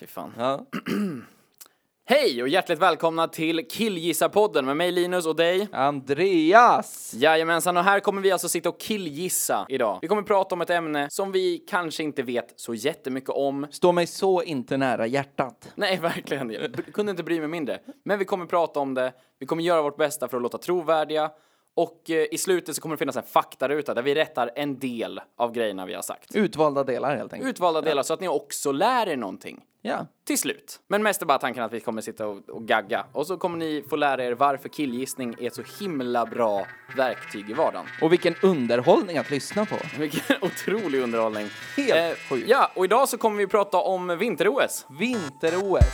fy fan. Ja. Hej och hjärtligt välkomna till Killgissa-podden med mig Linus och dig. Andreas! Jajamensan, och här kommer vi alltså sitta och killgissa idag. Vi kommer prata om ett ämne som vi kanske inte vet så jättemycket om. Står mig så inte nära hjärtat. Nej, verkligen. Jag b- kunde inte bry mig mindre. Men vi kommer prata om det, vi kommer göra vårt bästa för att låta trovärdiga och eh, i slutet så kommer det finnas en faktaruta där vi rättar en del av grejerna vi har sagt. Utvalda delar helt enkelt. Utvalda delar så att ni också lär er någonting. Ja. till slut. Men mest är bara tanken att vi kommer sitta och, och gagga och så kommer ni få lära er varför killgissning är ett så himla bra verktyg i vardagen. Och vilken underhållning att lyssna på. Vilken otrolig underhållning. Eh, Helt sjukt. Ja, och idag så kommer vi prata om vinter-OS. Vinter-OS.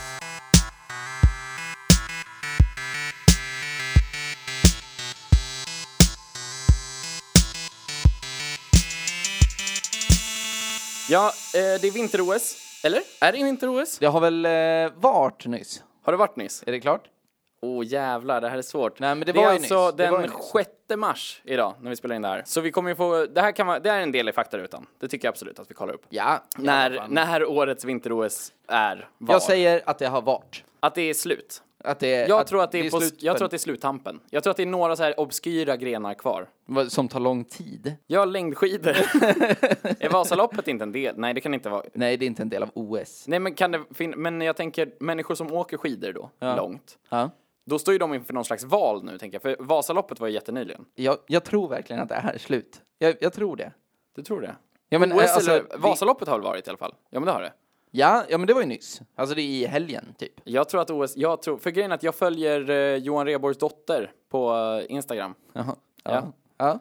Ja, eh, det är vinter-OS. Eller? Är det vinter-OS? Det har väl eh, varit nyss? Har det varit nyss? Är det klart? Åh jävlar, det här är svårt. Nej, men det är var ju alltså nyss. Det var ju den nyss. 6 mars idag när vi spelar in det här. Så vi kommer ju få, det här kan vara, det här är en del i faktarutan. Det tycker jag absolut att vi kollar upp. Ja. När, när årets vinter-OS är var. Jag säger att det har varit. Att det är slut. Att det, Jag, tror, att det är på, slut jag för- tror att det är sluttampen. Jag tror att det är några så här obskyra grenar kvar. vad- Som tar lång tid. Ja, längdskidor. är Vasaloppet inte en del? Nej, det kan inte vara. Nej, det är inte en del av OS. Nej, men kan det fin- Men jag tänker människor som åker skidor då, långt. Ja. Då står ju de inför någon slags val nu, tänker jag. För Vasaloppet var ju jättenyligen. Jag, jag tror verkligen att det här är slut. Jag, jag tror det. Du tror det? Ja, men, eh, OS alltså, eller vi- Vasaloppet har väl varit i alla fall? Ja, men det har det. Ja, ja, men det var ju nyss. Alltså det är i helgen, typ. Jag tror att OS, jag tror, för grejen är att jag följer eh, Johan Rheborgs dotter på eh, Instagram. Jaha. Ja. Ja. Ja.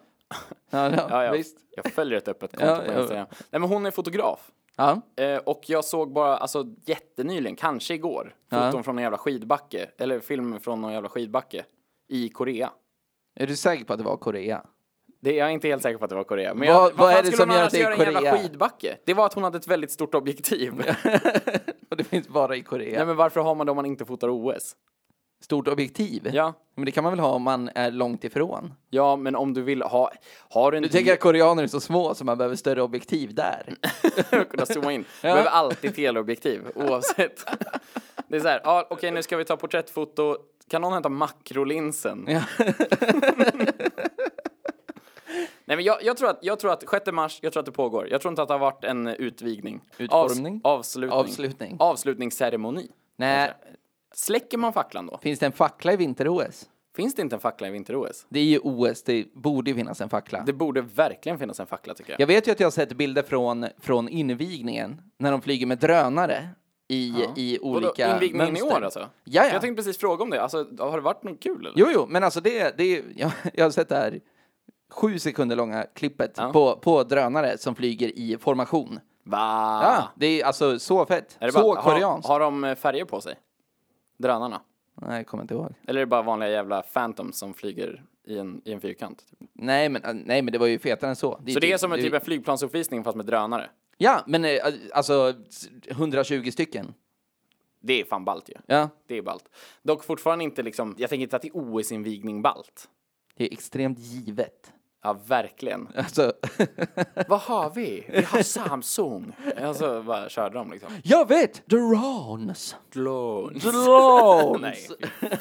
Ja, ja, Ja, ja. visst. Jag följer ett öppet konto Ja, på ja. Instagram. Nej, men hon är fotograf. Ja. Eh, och jag såg bara, alltså jättenyligen, kanske igår, foton från en jävla skidbacke, eller film från någon jävla skidbacke i Korea. Är du säker på att det var Korea? Det, jag är inte helt säker på att det var Korea. Men Vad- jag, vad är fan det skulle som hon gör annars att det är göra i en jävla Korea? skidbacke? Det var att hon hade ett väldigt stort objektiv. Och det finns bara i Korea. Nej men varför har man det om man inte fotar OS? Stort objektiv? Ja, Men det kan man väl ha om man är långt ifrån? ja men om du vill ha, har du en Du tänker att koreaner är så små så man behöver större objektiv där? för att kunna zooma in. Du behöver alltid teleobjektiv oavsett. Det är så här, ja, okej nu ska vi ta porträttfoto. Kan någon hämta makrolinsen? Ja. Nej men jag, jag, tror att, jag tror att 6 mars, jag tror att det pågår. Jag tror inte att det har varit en utvidgning. Utformning? Avs, avslutning. Avslutning. Avslutningsceremoni. Nej, Släcker man facklan då? finns det en fackla i vinter-OS? Finns det inte en fackla i vinter-OS? Det är ju OS, det borde ju finnas en fackla. Det borde verkligen finnas en fackla tycker jag. Jag vet ju att jag har sett bilder från, från invigningen, när de flyger med drönare i, i Vadå, olika invigningen mönster. i år alltså? Ja, ja. Jag tänkte precis fråga om det. Alltså, har det varit något kul eller? Jo, jo, men alltså det, det är, jag, jag har sett det här sju sekunder långa klippet på, på drönare som flyger i formation. Va? Ja, det är alltså så fett. Ah. Är det så bara, koreanskt. Har, har de eh, färger på sig? Drönarna? Nej, jag kommer inte ihåg. Eller är det bara vanliga jävla phantoms som flyger i en, i en fyrkant? Typ? Nej men, äh, nej, men det var ju fetare än så. Så det är som en typ av flygplansuppvisning fast med drönare? Ja, men eh, alltså 120 stycken. Det är fan ballt ju. Ja, Det är ballt. Dock fortfarande inte liksom, jag tänker inte att det är OS-invigning ballt. det är extremt givet. Ja, verkligen. Alltså, Vad har vi? Vi har Samsung. Alltså, bara körde de liksom. jag vet! Drones! Drones. Drones! Nej,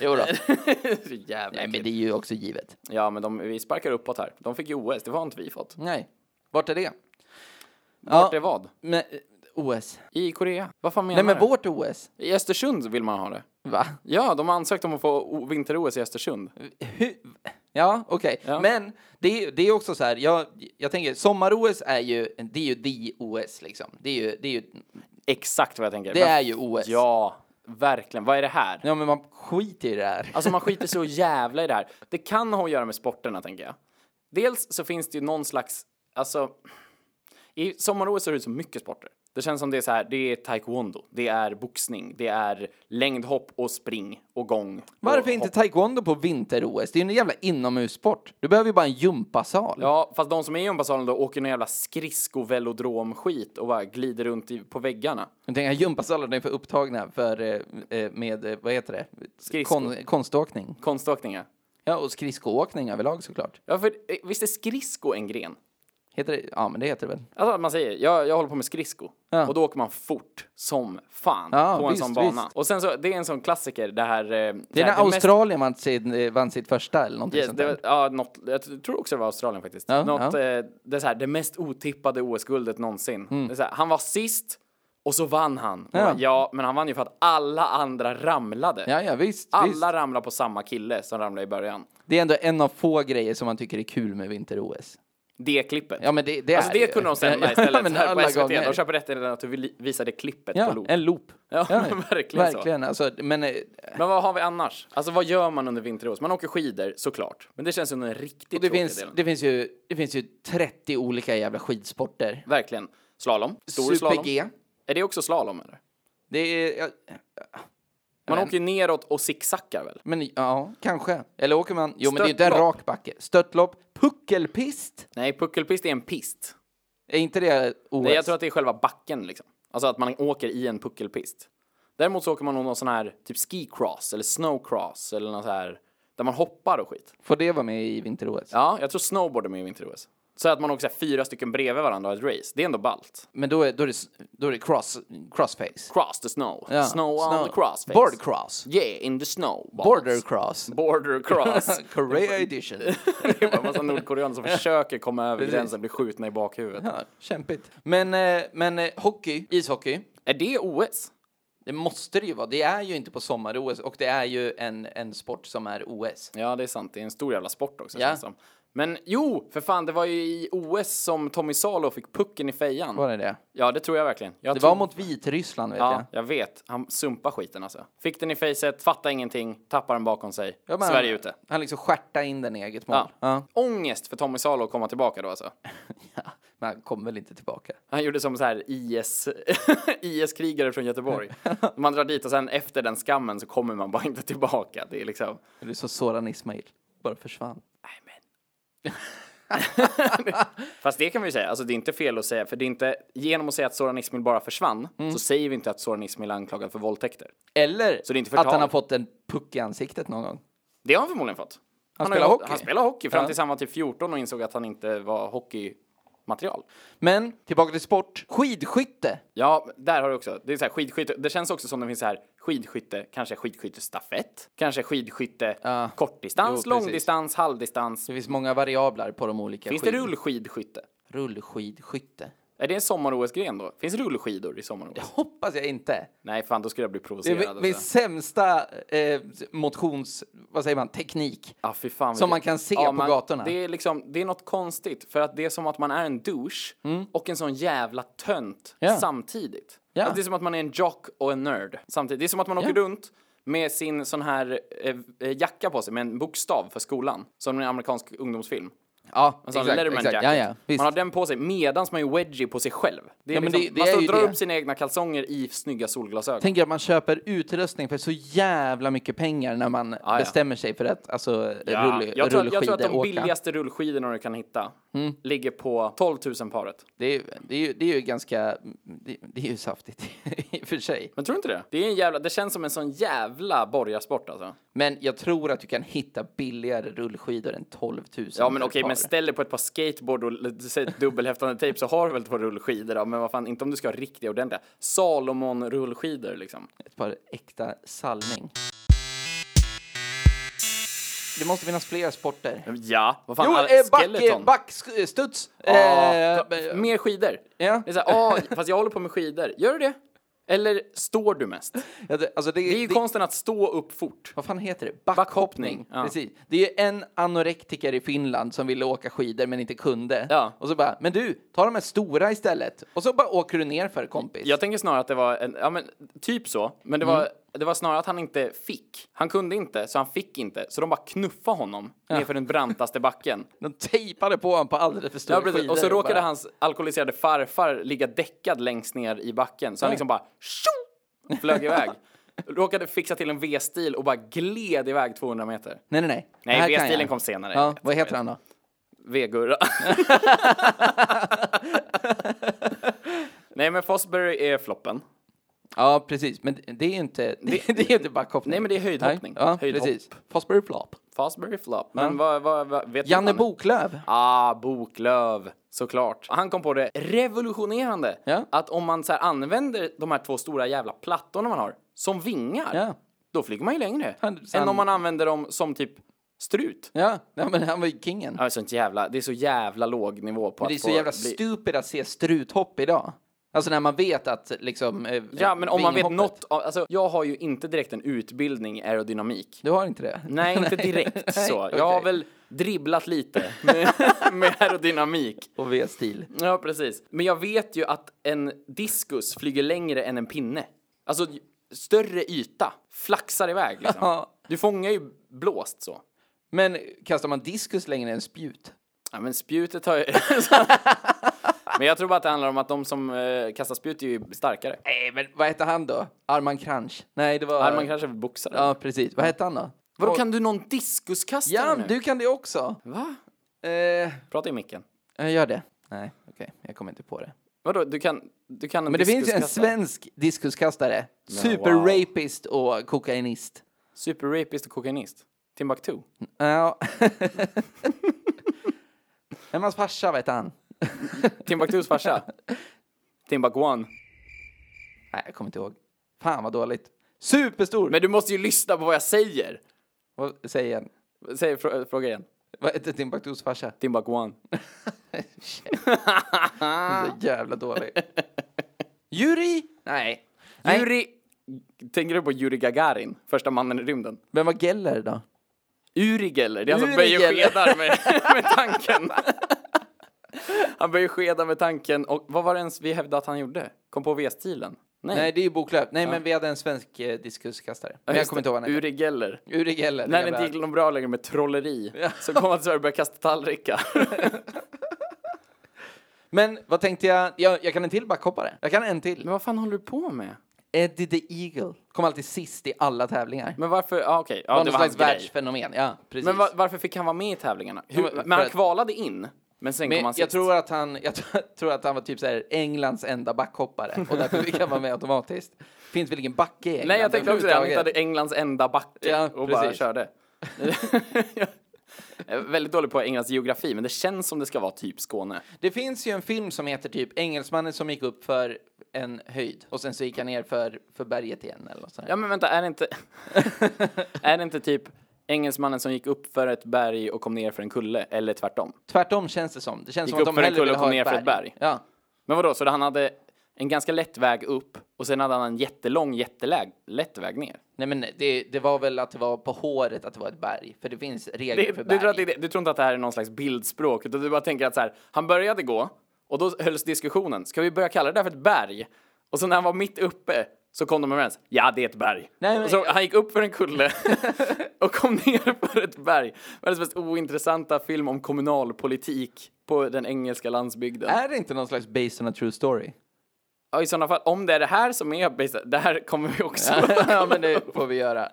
Jo då. så jävla Nej, men äckligt. det är ju också givet. Ja, men de, vi sparkar uppåt här. De fick ju OS, det har inte vi fått. Nej. Vart är det? Vart ja, är vad? men, eh, OS. I Korea? Vad fan menar Nej, men du? vårt OS. I Östersund vill man ha det. Va? Ja, de har ansökt om att få o- vinter-OS i Östersund. Hur? Ja, okej. Ja. Men det, är- det är också så här, jag, jag tänker sommar-OS är ju, det är ju the OS liksom. Det är ju, det är ju, Exakt vad jag tänker. det Men- är ju OS. Ja, verkligen. Vad är det här? Ja, men man skiter i det här. Alltså man skiter så jävla i det här. Det kan ha att göra med sporterna, tänker jag. Dels så finns det ju någon slags, alltså, i sommar-OS så är det så mycket sporter. Det känns som det är så här, det är taekwondo, det är boxning, det är längdhopp och spring och gång. och Varför inte hopp. taekwondo på vinter-OS? Det är ju en jävla inomhussport. Du behöver ju bara en gympasal. Ja, fast de som är i gympasalen då åker någon jävla skridskovelodrom-skit och bara glider runt i, på väggarna. Jag tänker gympasalarna är för upptagna för, eh, eh, med, eh, vad heter det? Skridsko. konståkning. Konståkningar. Ja, och skridskoåkning överlag såklart. Ja, för eh, visst är skridsko en gren? Heter det? Ja, men det heter det väl? Alltså man säger, jag, jag håller på med skridsko. Ja. Och då åker man fort som fan Ja, på en visst, sån bana. visst. Och sen så, det är en sån klassiker, det här... eh, Det är när här- mest- Australien vann, sin, eh, vann sitt första eller någonting Yes, sånt det där. var, ja, något, jag tror också det var Australien faktiskt. Ja, något, ja. Eh, det, är så här, det mest otippade OS-guldet någonsin. Det är så här, han var sist och så vann han. Och Mm. Ja. bara, ja, men han vann ju för att alla andra ramlade. Ja, ja, visst, visst. alla ramlade på samma kille som ramlade i början. Det är ändå en av få grejer som man tycker är kul med vinter-OS. Det klippet. Ja, men det, det alltså är det ju- kunde de Ja, sända istället men här på alla SVT. gånger. De köper rätten att du vill visa det klippet på Ja, loop. en loop. Ja, men verkligen så. Verkligen, alltså, men eh, Men vad har vi annars? Alltså vad gör man under vinter-OS? Man åker skidor såklart. Men det känns som den riktigt och det, tråkiga finns, delen. det, finns ju, det finns ju 30 olika jävla skidsporter. Verkligen. Slalom. Stor slalom. Super-G. Är det också slalom eller? Det är... ja, Man Men- åker ju neråt och zigzackar väl? Men ja, kanske. Eller åker man... Jo, men det är ju inte en Störtlopp. rak backe. Störtlopp. Puckelpist. Nej, puckelpist är en pist. Är inte det OS? Nej, jag tror att det är själva backen liksom. Alltså att man åker i en puckelpist. Däremot så åker man nog någon sån här typ skicross eller snowcross eller något så här där man hoppar och skit. Får det vara med i vinter-OS? Ja, jag tror snowboard är med i vinter-OS. Så att man åker så här fyra stycken bredvid varandra och har ett race. Det är ändå ballt. Men då är, då är det, s- då är det cross, crossface. Cross the snow. Ja, Snow on the cross face. Board cross. Yeah, in the snow. balls. Border cross. Border cross. Korea edition. det är bara en massa nordkoreaner som försöker komma över gränsen och bli skjutna i bakhuvudet. Ja, kämpigt. Men, eh, men eh, hockey, ishockey, Är det OS? det måste det ju vara. Det är ju inte på sommar-OS och det är ju en, en sport som är OS. Ja, det är sant. Det är en stor jävla sport också. Ja. känns det som. Men jo, för fan, det var ju i OS som Tommy Salo fick pucken i fejan. Var det det? Ja, det tror jag verkligen. Jag Det tror... var mot Vitryssland vet Ja, jag. jag vet. Han sumpar skiten alltså. Fick den i facet, fattar ingenting, tappar den bakom sig. Ja, men Sverige han, ute. Han liksom stjärtade in den i eget mål. Ja. Ja. Ångest för Tommy Salo att komma tillbaka då alltså. Ja, Men han kom väl inte tillbaka. Han gjorde som så här IS, IS-krigare från Göteborg. Man drar dit och sen efter den skammen så kommer man bara inte tillbaka. Det är liksom... Eller så Soran Ismail. Bara försvann. Nej, men. Fast det kan vi ju säga, alltså det är inte fel att säga, för det är inte, genom att säga att Soran Ismail bara försvann, Mm. så säger vi inte att Soran Ismail är anklagad för våldtäkter. Eller Så det är inte förtal. att han har fått en puck i ansiktet någon gång. Det har han förmodligen fått. Han, har ju- spelar hockey. Han spelar hockey fram Ja. tills han var typ 14 och insåg att han inte var hockeymaterial. Men tillbaka till sport. Skidskytte. Ja, där har du också. Det är så här skidskytte. Det känns också som det finns så här skidskytte, kanske skidskyttestafett, kanske skidskytte Ja. kortdistans, Jo, precis. långdistans, halvdistans. Det finns många variabler på de olika. Finns det skid- rullskidskytte? Rullskidskytte. Är det en sommar-OS-gren då? Finns det rullskidor i sommar-OS? Hoppas jag inte. Nej, fan då skulle jag bli Det är provocerad. min, alltså. min sämsta eh, motions... Vad säger man? Teknik. ah, fy fan, som vilket- man kan se Ja, på man- gatorna. Det är, liksom, det är något konstigt, för att det är som att man är en douche och en sån jävla tönt Mm. Ja. samtidigt. Ja. Alltså, det är som att man är en jock och en nörd samtidigt. Det är som att man åker runt med sin sån här eh, eh, jacka på sig med en bokstav för skolan, som i en amerikansk ungdomsfilm. Ja, En sån Letterman jacket. Ja, ja, visst. man har den på sig medans man är wedgie på sig själv. Det är Ja, men liksom, det- det man är står och ju drar det. upp sina egna kalsonger i snygga solglasögon. Tänker att man köper utrustning för så jävla mycket pengar när man ja. bestämmer sig för att alltså, Ja, rull, jag, tror, jag tror att de rullskideåka. billigaste rullskidorna du kan hitta Mm. ligger på 12 000 paret. Det är, det, är ju, det är ju ganska... Det, det är ju saftigt i och för sig. Men tror du inte det? Det, är en jävla, det känns som en sån jävla borgarsport alltså. Men jag tror att du kan hitta billigare rullskidor än 12 000. Ja men för okej, ett par. men ställ dig på ett par skateboard och l- säg ett dubbelhäftande tejp så har du väl ett par rullskidor då, men vad fan, inte om du ska ha riktiga ordentliga. Salomon-rullskidor liksom. Ett par äkta Salming. Det måste finnas fler sporter. Ja, vad fan, Jo, alla- eh, back, eh, skeleton. backstuds. Ja, eh, mer skidor. ja. Det är så här, ah, fast jag håller på med skidor. Gör du det? Eller står du mest? Ja, det, alltså Det är ju konsten att stå upp fort. Vad fan heter det? Backhoppning, Backhoppning. ja. Precis. Det är ju en anorektiker i Finland som ville åka skidor men inte kunde. Ja. Och så bara, men du, ta de här stora istället. Och så bara åker du ner för kompis. Jag tänker snarare att det var en, ja men typ så, men det var, Mm. det var snarare att han inte fick. Han kunde inte, så han fick inte, så de bara knuffade honom nerför den brantaste backen. De tejpade på honom på alldeles för stora Ja, precis. skidor. Och så råkade bara- hans alkoholiserade farfar ligga däckad längst ner i backen, så han liksom bara tjo, flög iväg. Råkade fixa till en V-stil och bara gled iväg 200 meter. Nej, nej, nej. Nej, Det här kan V-stilen jag. kom senare. Jag Ja, vet, vad jag heter han då? V-Gurra. Nej men Fosbury är floppen. Ja, precis. Men det är inte, det, det är inte backhoppning. Nej, men det är höjdhoppning. Ja, Höjdhopp. precis. Fosbury flop. Fosbury flop. Men vad, vad, vad vet Janne du? vad han- Boklöv. Ah, Boklöv. Såklart. Han kom på det revolutionerande Ja. att om man så här använder de här två stora jävla plattorna man har som vingar, Ja. då flyger man ju längre. Han- än han- om man använder dem som typ strut. Ja, nej, men han var ju kingen. Ja, det är sånt jävla, det är så jävla låg nivå på det är att så få jävla bli- stupid att se struthopp idag. Alltså när man vet att liksom... eh, Ja, men om man vet vinghoppet- något, av- alltså jag har ju inte direkt en utbildning i aerodynamik. Du har inte det? Nej, inte direkt Nej, så. Jag okej. har väl dribblat lite med, med aerodynamik. Och V-stil. Ja, precis. Men jag vet ju att en diskus flyger längre än en pinne. Alltså, j- större yta. Flaxar iväg liksom. Ja. Du fångar ju blåst så. Men kastar man diskus längre än spjut? Ja, men spjutet har ju... men jag tror bara att det handlar om att de som eh, kastar spjut är ju starkare. Nej, men vad hette han då? Arman Kranch? Nej, det var... Ja, man kanske boxar. Ja, precis. Vad hette han då? Vadå, kan du någon diskuskastare Ja, nu? du kan det också. Va? Eh, Prata i micken. jag gör det. Nej, okej. Jag kommer inte på det. Vadå, du kan, du kan en Men det finns ju en diskuskastare. svensk diskuskastare. wow. Super-rapist och kokainist. Superrapist och kokainist. Timbuktu. Ja. Men hans farsa, vad hette han? Timbuktus farsa. Timbuktuan. Nej, jag kommer inte ihåg. Fan vad dåligt. Superstor! Men du måste ju lyssna på vad jag säger. Vad säger han? Säg, frå, eh, fråga igen. Vad hette Timbuktus farsa? Timbuktuan. Ah. Så jävla dålig. Yuri? Nej. Nej. Yuri... Tänker du på Yuri Gagarin? Första mannen i rymden. Vem var Geller då? Uri Geller. Det är han som Uri böjer Geller. skedar med, med tanken. Han böjer skedar med tanken. Och vad var det ens vi hävdade att han gjorde? Kom på V-stilen? Nej. Nej, det är ju Boklöv. Nej, men vi hade en svensk eh, diskuskastare. Men jag just kommer inte det. ihåg vad han hette. Uri Geller. Uri Geller. den När det jävla- inte gick någon bra längre med trolleri så kom han till Sverige och började kasta tallrikar. Men vad tänkte jag? jag? Jag kan en till backhoppare. Jag kan en till. Men vad fan håller du på med? Eddie the Eagle. Kom alltid sist i alla tävlingar. Men varför, ja ah, okej, ja, var det någon var hans slags grej. världsfenomen. Ja, precis. Men va- varför fick han vara med i tävlingarna? Hur, men- men för han att- kvalade in, men sen kom Men han sist. jag tror att han, jag t- tror att han var typ så här Englands enda backhoppare och därför fick han vara med automatiskt. Finns väl ingen backe i England? Nej, jag tänkte också det. Han hittade överhuvudtaget? Englands enda backe Ja, och bara precis. körde. jag är väldigt dålig på Englands geografi, men det känns som det ska vara typ Skåne. Det finns ju en film som heter typ Engelsmannen som gick upp för en höjd och sen så gick han ner för, för berget igen eller något sånt där. Ja, men vänta, är det inte, är det inte typ engelsmannen som gick upp för ett berg och kom ner för en kulle, eller tvärtom? Tvärtom känns det som. Det känns Gick som att upp de för en hellre kulle vill och kom ha ner ett för berg. ett berg. Ja. Men vadå, så han hade en ganska lätt väg upp och sen hade han en jättelång, jätteläg, lätt väg ner? Nej men det, det var väl att det var på håret att det var ett berg. För det finns regler Det, för du, berg. tror att det, du tror inte att det här är någon slags bildspråk, utan du bara tänker att så här, han började gå och då hölls diskussionen, ska vi börja kalla det där för ett berg? Och så när han var mitt uppe så kom de överens, ja det är ett berg. Nej, men- och så han gick upp för en kulle och kom ner för ett berg. Världens mest ointressanta film om kommunalpolitik på den engelska landsbygden. Är det inte någon slags based on a true story? Ja, i sådana fall, om det är det här som är, det här kommer vi också. ja men det får vi göra.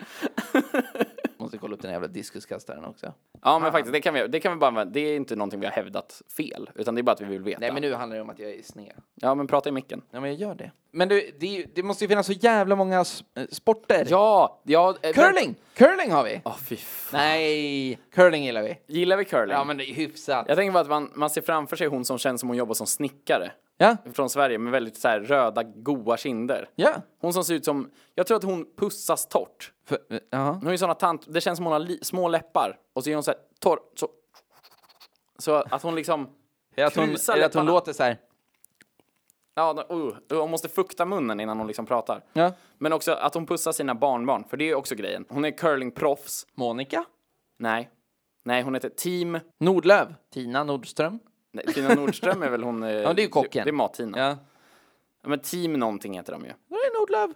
Måste kolla upp den jävla diskuskastaren också. ja men faktiskt, det kan, vi, det kan vi bara använda, det är inte någonting vi har hävdat fel, utan det är bara att vi vill veta. Nej men nu handlar det om att jag är sned. Ja men prata i micken. Ja men jag gör det. Men du, det, är ju- det måste ju finnas så jävla många s- eh, sporter. Ja, ja. eh, Curling! Curling har vi! Åh fy fan. Nej, curling gillar vi. Gillar vi curling? Ja men det är hyfsat. Jag tänker bara att man, man ser framför sig hon som känns som hon jobbar som snickare. Ja, Från Sverige med väldigt så här röda goa kinder. ja. Hon som ser ut som, jag tror att hon pussas torrt. För, eh, jaha. Hon är ju såna tant, det känns som hon har li, små läppar. Och så är hon så här torr, så. Så att hon liksom, Är att hon, Krusa är att hon läpparna. låter så här. ja, uh, hon måste fukta munnen innan hon liksom pratar. Ja. Men också att hon pussar sina barnbarn, för det är ju också grejen. Hon är curlingproffs. Monica? Nej. Nej, hon heter Team Nordlöv? Tina Nordström? Nej, Tina Nordström är väl hon... Ja, det är ju kocken. Det är Mat-Tina. Ja. Ja, men Team någonting heter de ju. Var är Nordlöv?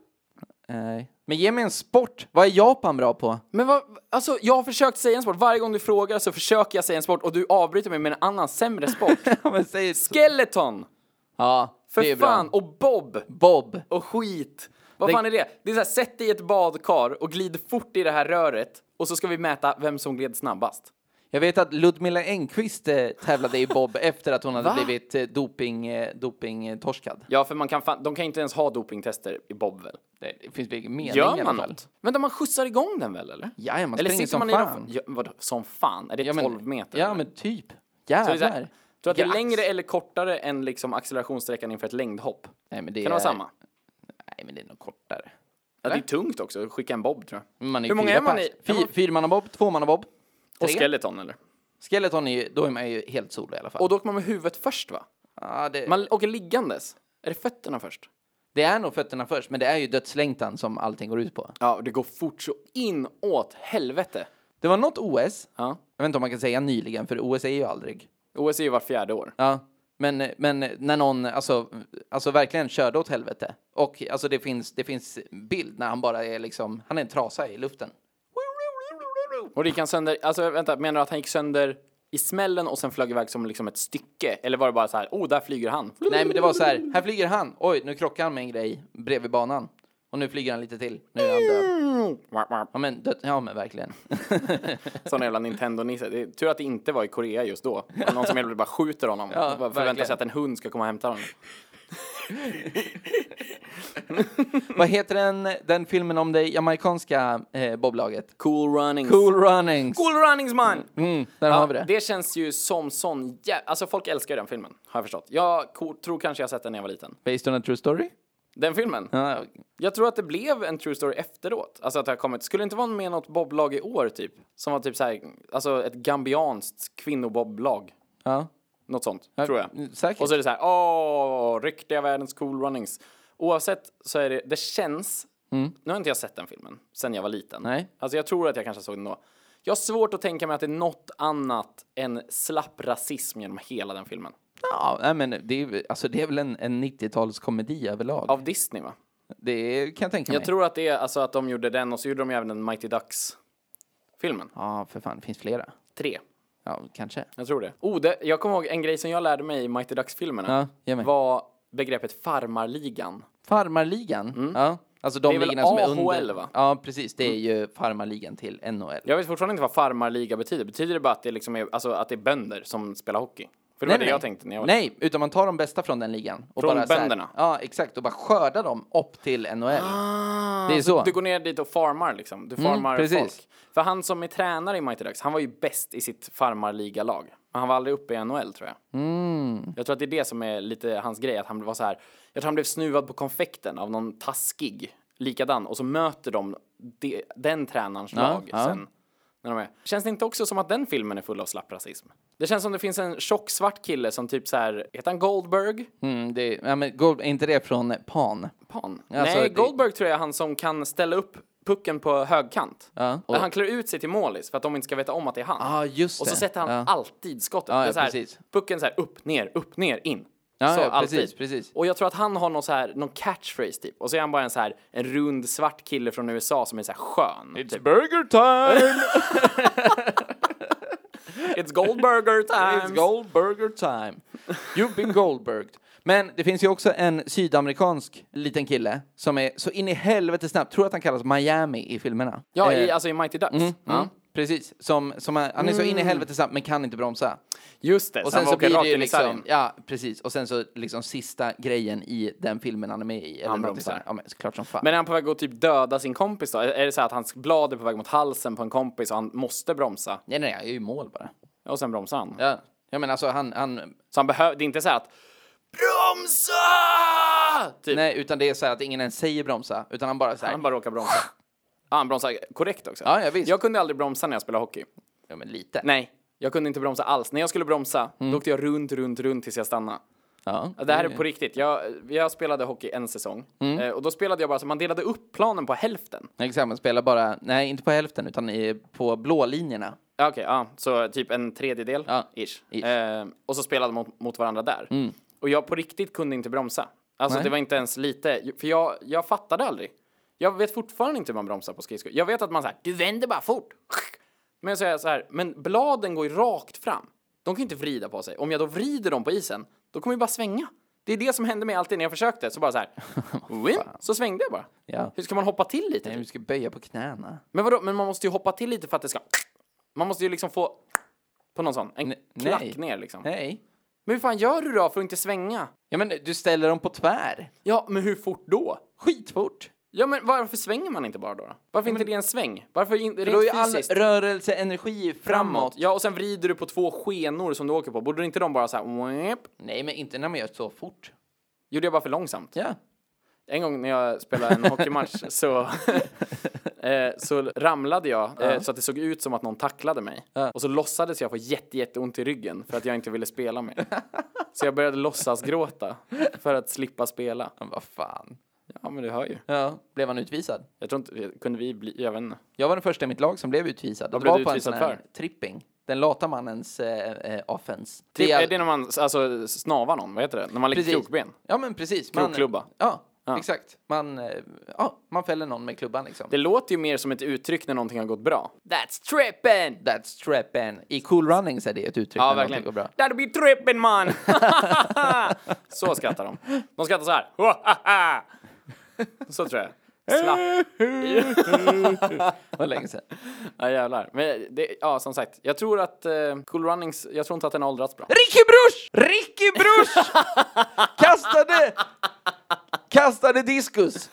Nej. Men ge mig en sport. Vad är Japan bra på? Men vad, alltså jag har försökt säga en sport. Varje gång du frågar så försöker jag säga en sport och du avbryter mig med en annan sämre sport. Ja, men säg så. Skeleton! Ja, För det är fan! bra. Och bob! Bob. Och skit! Vad Det- fan är det? Det är såhär, sätt dig i ett badkar och glid fort i det här röret och så ska vi mäta vem som gled snabbast. Jag vet att Ludmilla Engqvist eh, tävlade i bob efter att hon hade Va? blivit eh, doping, eh, dopingtorskad. Ja, för man kan fan, de kan inte ens ha dopingtester i bob väl? Det finns väl ingen mening i Gör alla man fall. något? Vänta, man skjutsar igång den väl eller? Ja, man eller springer sitter som man i fan. någon- Ja, vadå, som fan? Är det Ja, men- 12 meter? Ja, eller? men typ. Så det är så här- Jävlar. Tror du att det är Jax. längre eller kortare än liksom accelerationssträckan inför ett längdhopp? Kan Nej, men det det är, vara samma? Nej, men det är nog kortare. Ja, det är tungt också, att skicka en bob tror jag. Man är Hur många fyra är man pers. i? Fy, Är man- Fyrmannabob, tvåmannabob. Och Tre. skeleton eller? Skeleton är ju, då är man ju helt solo i alla fall. Och då åker man med huvudet först va? ja, det, Man åker liggandes. Är det fötterna först? det är nog fötterna först, men det är ju dödslängtan som allting går ut på. Ja, och det går fort så inåt helvete. Det var något OS, Ja. jag vet inte om man kan säga nyligen, för OS är ju aldrig. OS är ju vart fjärde år. Ja, men, men när någon alltså, alltså verkligen körde åt helvete. Och alltså det finns, det finns bild när han bara är liksom, han är en trasa i luften. Och det gick han sönder, alltså vänta, menar du att han gick sönder i smällen och sen flög iväg som liksom ett stycke? Eller var det bara så här, oh, där flyger han. Nej men det var så här, här flyger han, oj nu krockar han med en grej bredvid banan. Och nu flyger han lite till, nu är han död. Mm. Ja men, död, ja, men verkligen. Sån jävla Nintendo-nisse. Det är tur att det inte var i Korea just då. Någon som helt enkelt bara skjuter honom. och bara förväntar verkligen. sig att en hund ska komma och hämta honom. Vad heter den, den filmen om det jamaicanska eh, boblaget? Cool runnings. Cool Runnings! Cool runnings man! Mm, där har vi det. det känns ju som sån jä... Alltså folk älskar ju den filmen, har jag förstått. Jag ko- tror kanske jag har sett den när jag var liten. Based on a true story? Den filmen? Ja, Jag tror att det blev en true story efteråt. Alltså att det har kommit. Skulle det inte vara med något boblag i år typ? Som var typ så här, alltså ett gambianskt kvinnoboblag. ja. Något sånt, tror jag. mm, säkert. Och så är det så här, åh, ryktiga världens cool runnings. Oavsett så är det, det känns, nu har inte jag sett den filmen sen jag var liten. Mm. Nej. Alltså jag tror att jag kanske såg den då. Jag har svårt att tänka mig att det är något annat än slapp rasism genom hela den filmen. Ja, nej, men det är, ju- alltså, det är väl en, en 90-talskomedi överlag. Av Disney va? Det är- kan jag tänka Jag mig. tror att det är alltså att de gjorde den och så gjorde de ju även den Mighty Ducks-filmen. Ja, för fan, det finns flera. Tre. Ja, kanske. Jag tror det. Oh, det. Jag kommer ihåg en grej som jag lärde mig i Mighty Ducks-filmerna. Ja, ge mig. var begreppet farmarligan. Farmarligan? Ja. Alltså de Mm. Det är väl ligorna som är under. AHL, va? Mm. Ja, precis. Det är ju farmarligan till NHL. Jag vet fortfarande inte vad farmarliga betyder. Betyder det bara att det, liksom är, alltså, att det är bönder som spelar hockey? För det var det jag tänkte när jag var Nej, utan man tar de bästa från den ligan. Och Från bara så här- bönderna? Ja, exakt. Och bara skördar dem upp till NHL. Ah, Det är så. Mm, Du går ner dit och farmar liksom. Du farmar precis. folk. För han som är tränare i Mighty Ducks, han var ju bäst i sitt farmarligalag. Men han var aldrig uppe i NHL tror jag. Mm. Jag tror att det är det som är lite hans grej, att han var så här. Jag tror han blev snuvad på konfekten av någon taskig likadan och så möter de, de den tränarens lag ja. sen. När de är. Känns det inte också som att den filmen är full av slapp rasism? Det känns som det finns en tjock svart kille som typ så här, heter han Goldberg? Mm, det, ja, men, Gold, är inte det från Pan? Pan. Alltså, Nej, det- Goldberg tror jag är han som kan ställa upp pucken på högkant. Ja. Och han klär ut sig till målis för att de inte ska veta om att det är han. Ja, just och så det. sätter han Ja. alltid skottet. Ja, det är ja, så här, precis. Pucken så här upp, ner, upp, ner, in. Ja, så ja, alltid. precis, precis. Och jag tror att han har någon, så här, någon catchphrase typ. Och så är han bara en så här en rund svart kille från USA som är så här skön. typ. It's, Burger time! It's Goldberger time! It's Goldberger time. You've been Goldberged. Men det finns ju också en sydamerikansk liten kille som är så in i helvete snabb. Tror att han kallas Miami i filmerna. ja, Eh, i, alltså i Mighty Ducks. Ja. Mm. mm, Precis. Som, som är, han är så in i helvete snabb men kan inte bromsa. Just det, Och sen så blir det ju liksom, sargen. ja precis, och sen så liksom sista grejen i den filmen han är med i. Eller han bromsar. Ja men såklart som fan. Men är han på väg att typ döda sin kompis då? Är- Är det så här att hans blad är på väg mot halsen på en kompis och han måste bromsa? nej nej, jag är ju i mål bara. Och sen bromsar han. Ja, ja men alltså han, han, Så han behöver, det är inte så här att BROMSA! Typ. nej utan det är så här att ingen ens säger bromsa, utan han bara så här, Han bara råkar bromsa. Ja, han bromsar korrekt också. Ja, ja, visst. Jag kunde aldrig bromsa när jag spelade hockey. ja men lite. Nej, jag kunde inte bromsa alls. När jag skulle bromsa, Mm. då åkte jag runt, runt, runt tills jag stannade. Ja. Det här är på riktigt. Jag, jag spelade hockey en säsong. Mm. Eh, Och då spelade jag bara så man delade upp planen på hälften. Exakt, man spelar bara, nej inte på hälften utan i, på blå linjerna. Ja, Okej, ja. Så typ en tredjedel, Ja, ish. ish. Mm. Eh, och så spelade mot, mot varandra där. Och jag på riktigt kunde inte bromsa. Alltså Nej. det var inte ens lite, för jag, jag fattade aldrig. Jag vet fortfarande inte hur man bromsar på skridskor. Jag vet att man så här, du vänder bara fort. Men så är jag så här, men bladen går ju rakt fram. De kan ju inte vrida på sig. Om jag då vrider dem på isen, då kommer jag bara svänga. Det är det som hände mig alltid när jag försökte. Så bara så här, win, så svängde jag bara. Ja. Hur ska man hoppa till lite? typ? Nej, du ska böja på knäna. Men vadå, men man måste ju hoppa till lite för att det ska... Man måste ju liksom få På någon sån? En Ne- klack nej. ner liksom. Nej. Men hur fan gör du då för att inte svänga? Ja, men du ställer dem på tvär. Ja, men hur fort då? Skitfort. Ja, men varför svänger man inte bara då? då? Varför inte det är en sväng? Varför in, För då är rent ju all fysiskt? rörelse, energi framåt. framåt. Ja, och sen vrider du på två skenor som du åker på. Borde inte de bara så här... "Wep"? Nej, men inte när man gör så fort. Gjorde jag bara för långsamt? Ja. En gång när jag spelade en hockeymatch så, eh, så ramlade jag eh, så att det såg ut som att någon tacklade mig. Och så låtsades jag få jätte, jätteont i ryggen för att jag inte ville spela mer. så jag började låtsas gråta för att slippa spela. Men vad fan. Ja, men du hör ju. Ja. Blev han utvisad? Jag tror inte, kunde vi bli, jag vet inte. Jag var den första i mitt lag som blev utvisad. De blev var du på en utvisad sån här tripping. Den lata mannens eh, eh, offense. Typ, Det är- är det när man alltså, snavar någon? Vad heter det? När man lägger Precis. krokben? Ja, men precis. Krokklubba. Ja, Ja. exakt. Man, eh, ja, man fäller någon med klubban liksom. Det låter ju mer som ett uttryck när någonting har gått bra. That's trippin! That's trappen. I Cool Runnings är det ett uttryck. Ja, när verkligen. någonting Går bra. That'll be trippin man! så skrattar de. De skrattar så här. så tror jag. Slapp. Det var länge sedan. Ja jävlar. Men det, ja som sagt, jag tror att eh, Cool Runnings, jag tror inte att den har åldrats bra. Ricky Brush! Ricky Brush! kastade... Kastade diskus.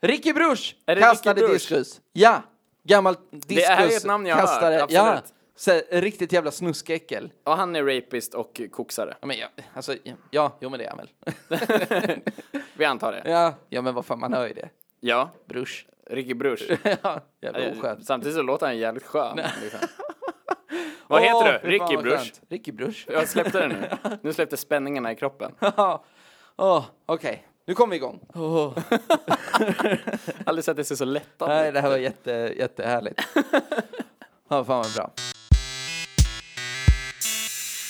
Ricky Brush Är det kastade Ricky Brush? diskus. Ja, gammalt diskus. är ju ett namn jag har hört, Ja, absolut. så här, riktigt jävla snuskäckel. Och han är rapist och koksare. Ja, men jag, alltså, ja, ja, jo men det är han väl. Vi antar det. ja. ja, men vad fan, man hör ju det. Ja. Brush. Ricky Brush. ja, jävla Eh, oskönt. Samtidigt så låter han jävligt skön. Liksom. Vad heter Åh, du? fy fan Ricky vad Brush. skönt. Ricky Brush. Jag släppte det nu. Nu släppte spänningarna i kroppen. Ja. Åh, Okej, nu kommer vi igång. Aldrig sett det se så lätt Nej, ut. det här var jätte, jättehärligt. Ja, fan vad bra.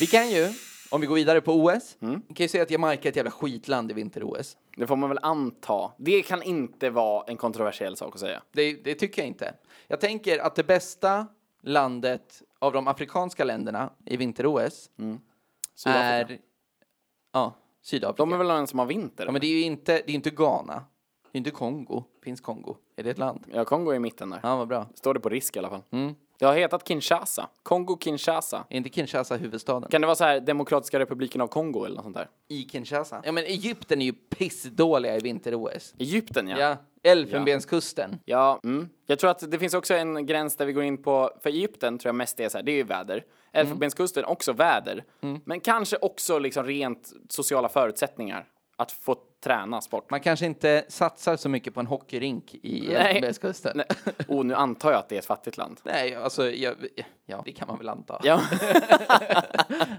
Vi kan ju, om vi går vidare på OS, Mm. vi kan ju säga att Jamaica är ett jävla skitland i vinter-OS. Det får man väl anta. Det kan inte vara en kontroversiell sak att säga. Det, det tycker jag inte. Jag tänker att det bästa landet av de afrikanska länderna i vinter-OS Mm. Sydafrika. är... Ja, Sydafrika. De är väl de som har vinter? Ja, men det är ju inte, det är inte Ghana. Det är inte Kongo. Finns Kongo? Är det ett land? Ja, Kongo är i mitten där. Ja, Mm. vad bra. Står det på risk i alla fall. Det har hetat Kinshasa. Kongo-Kinshasa. Är inte Kinshasa huvudstaden? Kan det vara så här Demokratiska republiken av Kongo eller något sånt där? I Kinshasa? Ja, men Egypten är ju pissdåliga i vinter-OS. Egypten ja. Ja. Elfenbenskusten. Ja, mm. Jag tror att det finns också en gräns där vi går in på, för Egypten tror jag mest det är så här, det är ju Mm. väder. Elfenbenskusten, också väder. Men kanske också liksom rent sociala förutsättningar. Att få träna sport. Man kanske inte satsar så mycket på en hockeyrink i Elfenbenskusten. Nej. Oh, nu antar jag att det är ett fattigt land. Nej, alltså, jag, ja, det kan man väl anta. Ja.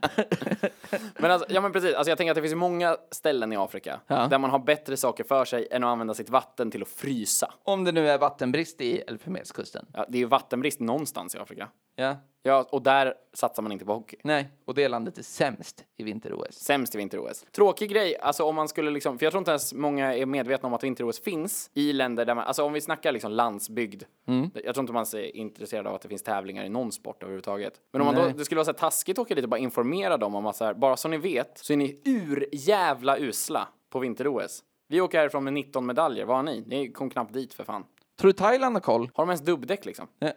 men alltså, ja men precis, alltså jag tänker att det finns ju många ställen i Afrika Ja. där man har bättre saker för sig än att använda sitt vatten till att frysa. Om det nu är vattenbrist i Elfenbenskusten. Ja, det är ju vattenbrist någonstans i Afrika. Ja. Ja, och där satsar man inte på hockey. Nej, och det landet är sämst i vinter-OS. Sämst i vinter-OS. Tråkig grej, alltså om man skulle liksom, för jag tror inte ens många är medvetna om att vinter-OS finns i länder där man, alltså om vi snackar liksom landsbygd. Mm. Jag tror inte man är intresserad av att det finns tävlingar i någon sport överhuvudtaget. Men om man Nej. då, det skulle vara så här taskigt att åka dit och bara informera dem om att så här, bara så ni vet så är ni urjävla usla på vinter-OS. Vi åker härifrån med 19 medaljer, vad har ni? Ni kom knappt dit för fan. Tror du Thailand har koll? Har de ens dubbdäck liksom? Nej.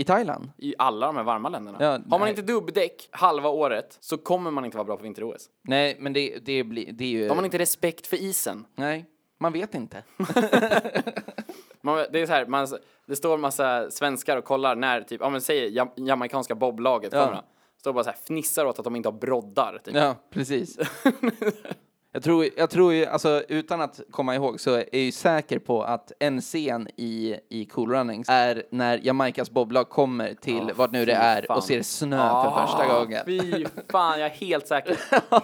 I Thailand? I alla de här varma länderna. Ja, har man nej. inte dubbdäck halva året så kommer man inte vara bra på vinter-OS. Nej, men det, det, blir, det är ju... Har man inte respekt för isen Nej, man vet inte. Man, det är så här, man, det står en massa svenskar och kollar när typ, ja men säg jam, jamaicanska boblaget kommer. då. Står bara så här, fnissar åt att de inte har broddar. Typ. Ja, precis. jag, tror, jag tror ju, alltså utan att komma ihåg så är jag ju säker på att en scen i, i Cool Runnings är när Jamaicas boblag kommer till vad nu det är fan. och ser snö för första gången. Ah, Fy fan, jag är helt säker.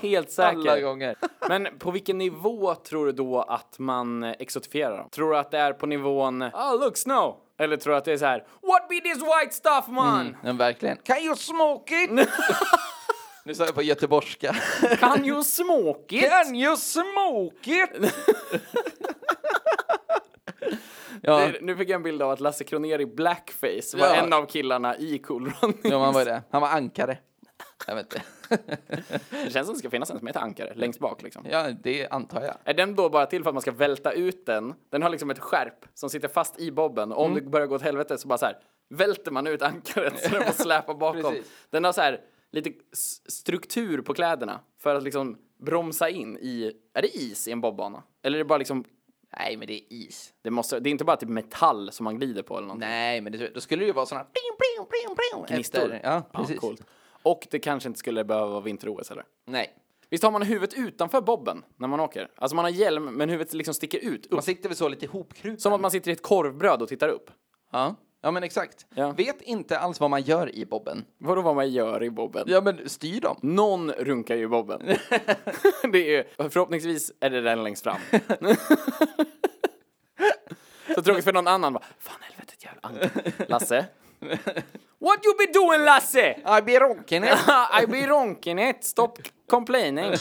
Helt Alla säker. gånger. Men på vilken nivå tror du då att man eh, exotifierar dem? Tror du att det är på nivån ah look snow? Eller tror du att det är så här What be this white stuff man? Men verkligen. Can you smoke it? nu sa jag på göteborgska. Can you smoke it? Can you smoke it? ja, Det- Nu fick jag en bild av att Lasse Kronér i blackface var Ja. en av killarna i Cool Running. ja, man var ju det. Han var ankare. Jag vet inte. Det känns som det ska finnas en som heter ankare längst bak liksom. ja, det antar jag. Är den då bara till för att man ska välta ut den? Den har liksom ett skärp som sitter fast i bobben. Och om Mm. det börjar gå åt helvete så bara så här välter man ut ankaret så den får släpa bakom. Precis. Den har så här lite s- struktur på kläderna för att liksom bromsa in i, är det is i en bobbana? Eller är det bara liksom, Nej, men det är is. det, måste, det är inte bara typ metall som man glider på eller någonting? Nej, men det, då skulle det ju vara sådana Gnistor. Ja, precis. coolt. Och det kanske inte skulle behöva vara vinter-OS heller. Nej. Visst har man huvudet utanför bobben när man åker? Alltså man har hjälm men huvudet liksom sticker ut upp. Man sitter väl så lite ihopkrupen? Som att man sitter i ett korvbröd och tittar upp. Ja. ja, men exakt. Ja. Vet inte alls vad man gör i bobben. Vadå vad man gör i bobben? Ja, men styr dem. Någon runkar ju i bobben. det är, förhoppningsvis är det den längst fram. Så tråkigt för någon annan bara, fan helvetet jävla anka. Lasse? What you be doing Lasse? Ja, blir ronken. I be ronking it, stop complaining.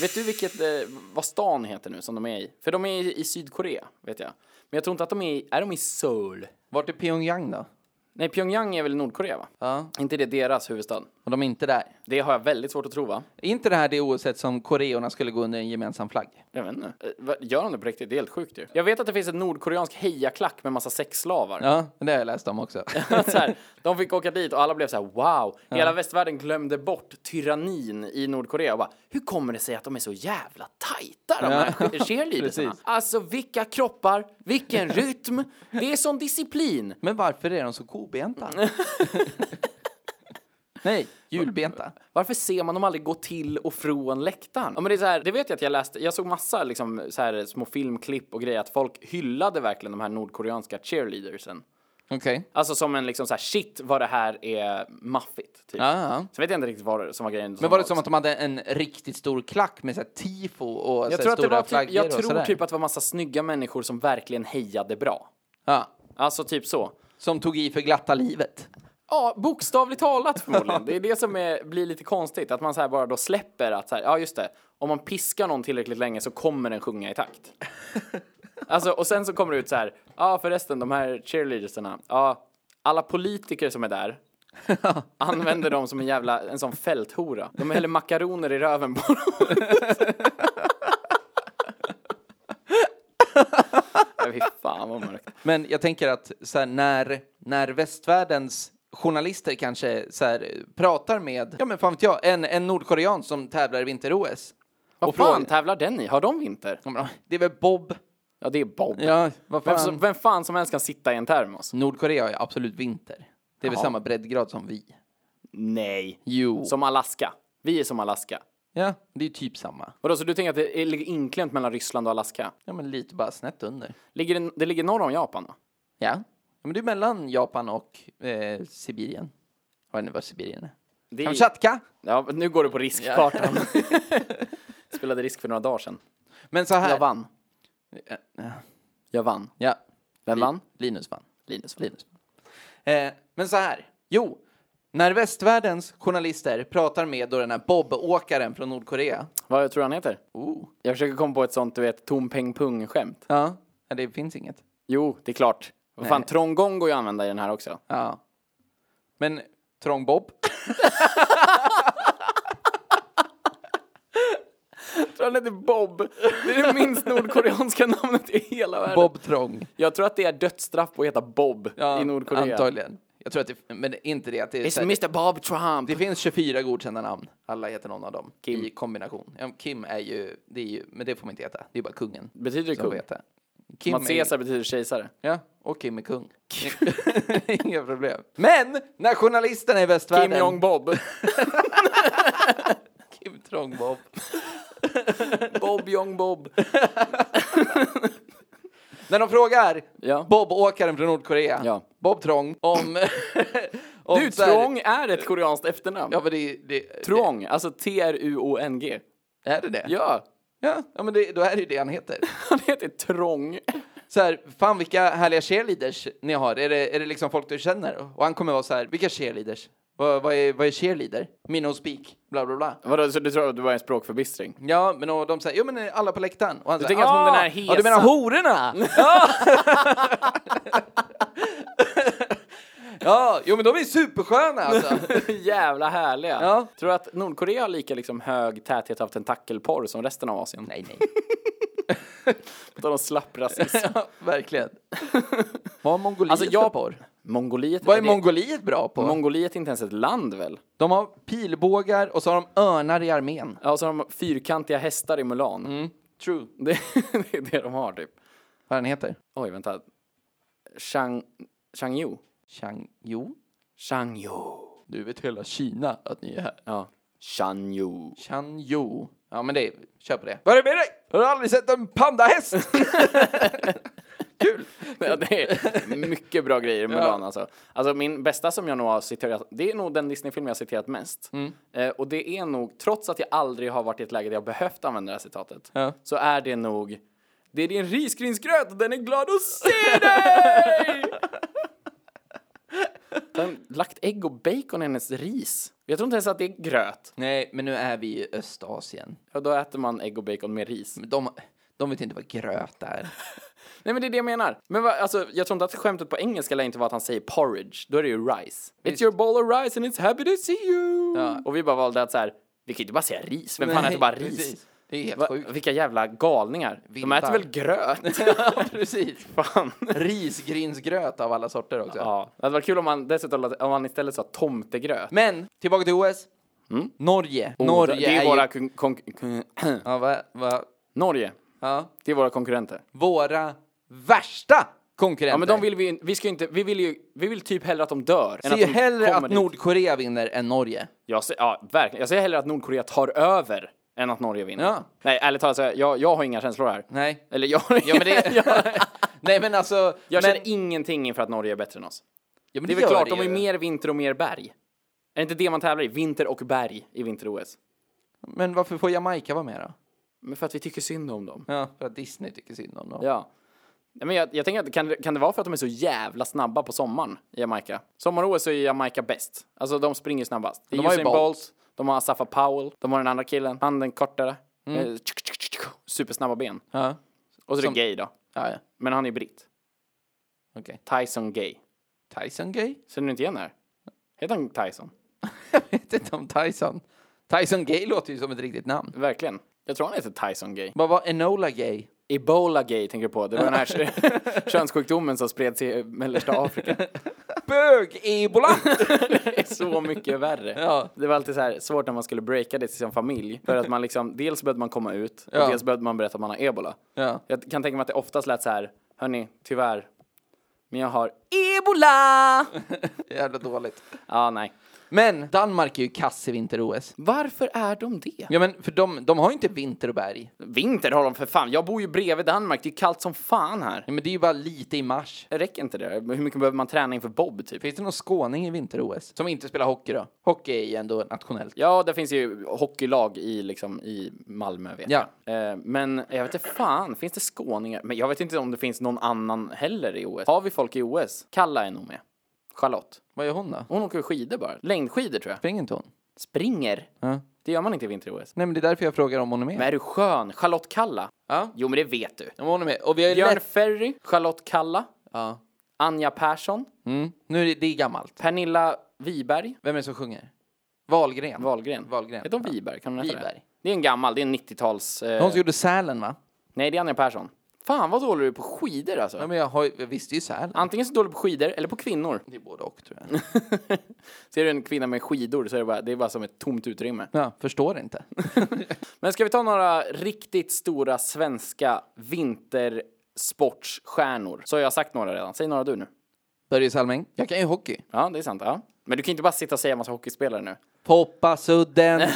Vet du vilket, eh, vad stan heter nu som de är i? För de är i, i Sydkorea, vet jag. Men jag tror inte att de är i, är de i Seoul? Vart är Pyongyang då? Nej, Pyongyang är väl i Nordkorea va? Ja, Inte det deras huvudstad? och de är inte där. Det har jag väldigt svårt att tro va? Är inte det här det oavsett som koreorna skulle gå under en gemensam flagg? Jag vet inte. Eh, vad- Gör de det på riktigt? Det är helt sjukt ju. Jag vet att det finns en nordkoreansk hejaklack med massa sexslavar. Ja, det har jag läst om också. så här, de fick åka dit och alla blev så här wow. Hela västvärlden glömde bort tyrannin i Nordkorea och bara hur kommer det sig att de är så jävla tajta de här Ja. ja. cheerleadersarna? Precis. Alltså vilka kroppar, vilken rytm, det är sån disciplin. Men varför är de så kobenta? Nej, julbenta. Varför ser man dem aldrig gå till och från läktaren? Ja, men det, är så här, det vet jag att jag läste, jag såg massa liksom, så här, små filmklipp och grejer att folk hyllade verkligen de här nordkoreanska cheerleadersen. Okej. Alltså som en liksom så här shit vad det här är maffigt. Typ. Ja, ja. Så vet jag inte riktigt vad det som var grejen. Men var det som att de hade en riktigt stor klack med så här tifo och så Jag här tror, att det stora var typ, flaggor jag och tror sådär? typ att det var massa snygga människor som verkligen hejade bra. Ja, Alltså typ så. som tog i för glatta livet. Ja, bokstavligt talat förmodligen. Det är det som är, blir lite konstigt, att man så här bara då släpper att så här, ja just det, om man piskar någon tillräckligt länge så kommer den sjunga i takt. Alltså, och sen så kommer det ut så här, ja förresten, de här cheerleadersarna, ja, alla politiker som är där använder dem som en jävla, en sån fälthora. De häller makaroner i röven på dem. Ja, Fy fan vad mörkt. Men jag tänker att så här, när, när västvärldens journalister kanske så här, pratar med, ja men fan vet jag, en, en nordkorean som tävlar i vinter-OS. Vad fan tävlar den i? Har de vinter? Ja, men, Det är väl Bob? Ja, det är Bob. Ja, vad Vem, som, fan? vem fan som helst kan sitta i en termos? Nordkorea har ju absolut vinter. Det är väl samma breddgrad som vi. Nej. Jo. Som Alaska. Vi är som Alaska. Ja, det är ju typ samma. Vadå, så du tänker att det är- ligger inklämt mellan Ryssland och Alaska? Ja, men lite bara snett under. Ligger det, det ligger norr om Japan då? Ja. ja men det är mellan Japan och eh, Sibirien. Jag vet inte var Sibirien är. Det är, Kamchatka! ja, nu går du på riskkartan. Spelade risk för några dagar sedan. Men så Jag här. vann. Jag vann. Ja. Vem vann? Linus vann. Linus vann. Linus. Eh, men så här. Jo. När västvärldens journalister pratar med då den här Bob-åkaren från Nordkorea. Vad tror du han heter? Oh. Jag försöker komma på ett sånt, du vet, tom peng pung skämt. Ja. ja, det finns inget. Jo, det är klart. Vad fan, trongong går ju att använda i den här också. Ja. Men Trång Bob? Jag tror han heter Bob. Det är det minst nordkoreanska namnet i hela världen. Bob Trång. Jag tror att det är dödsstraff på att heta Bob Ja, i Nordkorea. Antagligen. Jag tror att det, men det är inte det att det är It's så här, Mr Bob Trump. Det finns 24 godkända namn. Alla heter någon av dem Mm. i kombination. Ja, Kim är ju, det är ju, men det får man inte heta. Det är bara kungen. Betyder det som får kung? heta. Kim Mats är, Caesar betyder kejsare. ja, och Kim är kung. Inga problem. Men när journalisterna i västvärlden... Kim Jong-Bob. Kim Trångbob. Bob Jong-Bob. När de frågar Ja. Bob-åkaren från Nordkorea, Ja. Bob Trång, om... om Du, så här- Trong är ett koreanskt efternamn. Ja, men det, det, Trong, alltså T-R-U-O-N-G. det är det det? Ja, Ja, ja, men det, då är det ju det han heter. han heter Trong. så här, fan vilka härliga cheerleaders ni har. Är det, är det liksom folk du känner? Och han kommer vara så här, vilka cheerleaders? Vad, vad, är, vad är cheerleader? Minno Speak, bla bla bla. Vadå, så du tror att det var en språkförbistring? Ja, men och de säger, jo men eh, alla på läktaren. Och han du tänker att hon den här Ja, du menar hesa." hororna? Ja! ja, jo men de är supersköna alltså. Jävla härliga. Ja. Tror du att Nordkorea har lika liksom, hög täthet av tentakelporr som resten av Asien? nej, nej. Utan de slapp rasism. Ja, verkligen. Vad har Mongoliet Alltså, jag- för porr? Mongoliet? Vad är det- Mongoliet bra på? Mongoliet är inte ens ett land väl? de har pilbågar och så har de örnar i armén. Ja, och så har de fyrkantiga hästar i Mulan. True. Det, det är det de har typ. Vad den heter? Oj, vänta. Shang... Shangyu? Chang Jo. Shangyu. Du vet hela Kina att ni är här. Ja. Shangyu. Chan Jo. Ja, men det, kör på det. Vad är det med dig? Har du aldrig sett en pandahäst? Kul! Ja, det är mycket bra grejer i Mulan alltså. Alltså min bästa som jag nog har citerat, det är nog den Disney-film jag har citerat mest. Eh, och det är nog, trots att jag aldrig har varit i ett läge där jag behövt använda det här citatet, Ja. så är det nog Det är din risgrynsgröt och den är glad att se dig! Den lagt ägg och bacon i hennes ris. Jag tror inte ens att det är gröt. Nej, men nu är vi i Östasien. Ja, då äter man ägg och bacon med ris. Men De, de vet inte vad gröt är. Nej men det är det jag menar. Men vad- alltså, jag tror inte att skämtet på engelska lär inte vara att han säger porridge. Då är det ju rice. It's your bowl of rice and it's happy to see you! Ja. Och vi bara valde att så här, vi kan ju inte bara säga ris. Vem fan Nej, äter bara ris? precis. Det är helt Va, sjukt. vilka jävla galningar. Vildar. De äter väl gröt? ja, precis. fan. Risgrynsgröt av alla sorter också. Ja, det hade varit kul om man dessutom om man istället sa tomtegröt. Men, tillbaka till OS. Norge. Norge Mm. det är, ju- våra kon- kon- kon- Ja, va, va, Norge, ja. det är våra konkurrenter. Våra värsta konkurrenter. Ja men de vill vi ju- vi ska ju inte, vi vill ju, vi vill typ hellre att de dör. ser ju de hellre kommer att dit. Nordkorea vinner än Norge. Jag ser, ja, verkligen. Jag ser hellre att Nordkorea tar över än att Norge vinner. Ja. Nej, ärligt talat, så här, jag, jag har inga känslor här. Nej. Eller jag har Ja, men det, jag, nej, men alltså... jag men, känner ingenting inför att Norge är bättre än oss. ja, men Det är väl gör klart, det de har ju ju. mer vinter och mer berg. Är det inte det man tävlar i? Vinter och berg i vinter-OS. Men varför får Jamaica vara med då? Men för att vi tycker synd om dem. Ja, för att Disney tycker synd om dem. Ja. Nej, Men jag, jag tänker att kan, det- kan det vara för att de är så jävla snabba på sommaren i Jamaica? Sommar-OS så är Jamaica bäst. Alltså de springer snabbast. Det är De har ju Usain Bolt. Bolt, de har Safa Powell, de har den andra killen, han den kortare. Mm. Eh, tsk, tsk, tsk, tsk, Supersnabba ben. Ja, Och så är det Gay då. ja, ja. Men han är britt. okej. Tyson Gay. Tyson gay? Känner du inte igen det här? Heter han Tyson? Jag vet inte om Tyson. Tyson gay låter ju som ett riktigt namn. Verkligen. Jag tror han heter Tyson Gay. Vad var Enola gay? Ebola Gay tänker du på. Det var den här könssjukdomen som spreds i mellersta Afrika. Bög-ebola! Det är så mycket värre. Ja. Det var alltid så här svårt när man skulle breaka det till sin familj. För att man liksom, dels behövde man komma ut och Ja. dels behövde man berätta att man har ebola. ja. Jag kan tänka mig att det oftast lät så här, hörni, tyvärr, men jag har ebola! Ja, Jävla dåligt. nej. Men Danmark är ju kass i vinter-OS. Varför är de det? Ja, men för de, de har ju inte vinter och berg. Vinter har de för fan. Jag bor ju bredvid Danmark. Det är kallt som fan här. Ja, men det är ju bara lite i mars. Räcker inte det? Hur mycket behöver man träna inför bob typ? Finns det någon skåning i vinter-OS som inte spelar hockey då? Hockey är ju ändå nationellt. Ja, det finns ju hockeylag i, liksom, i Malmö vet Ja. jag. Eh, men jag vet inte fan, finns det skåningar? Men jag vet inte om det finns någon annan heller i OS. Har vi folk i OS? Kalla är nog med. Charlotte. Vad gör hon då? Hon åker skidor bara. Längdskidor tror jag. Springer inte hon? Springer. Ja. Det gör man inte i vinter-OS. Nej, men det är därför jag frågar om hon är med. Men är du skön? Charlotte Kalla? Ja. Jo, men det vet du. Om hon är med. Och vi har ju Björn lätt... Ferry, Charlotte Kalla, Ja. Anja Persson, Mm. Nu är det, det är gammalt. Pernilla Wiberg, Vem är det som sjunger? Wahlgren. Wahlgren. Wahlgren. Heter hon Wiberg? Kan hon heta det? Wiberg. Det är en gammal, det är en 90-tals... Eh, Hon som gjorde Sälen, va? Nej, det är Anja Persson. Fan vad dålig du är på skidor alltså. Ja, men jag, har, ju- jag visste ju Sälen. Antingen så dålig på skidor eller på kvinnor. Det är både och, tror jag. Ser du en kvinna med skidor så är det bara, det är bara som ett tomt utrymme. Ja, förstår inte. Men ska vi ta några riktigt stora svenska vintersportsstjärnor? Så har jag sagt några redan. Säg några du nu. Börje Salming. Jag kan ju hockey. Ja, det är sant. Ja. Men du kan inte bara sitta och säga en massa hockeyspelare nu. Poppa, Sudden,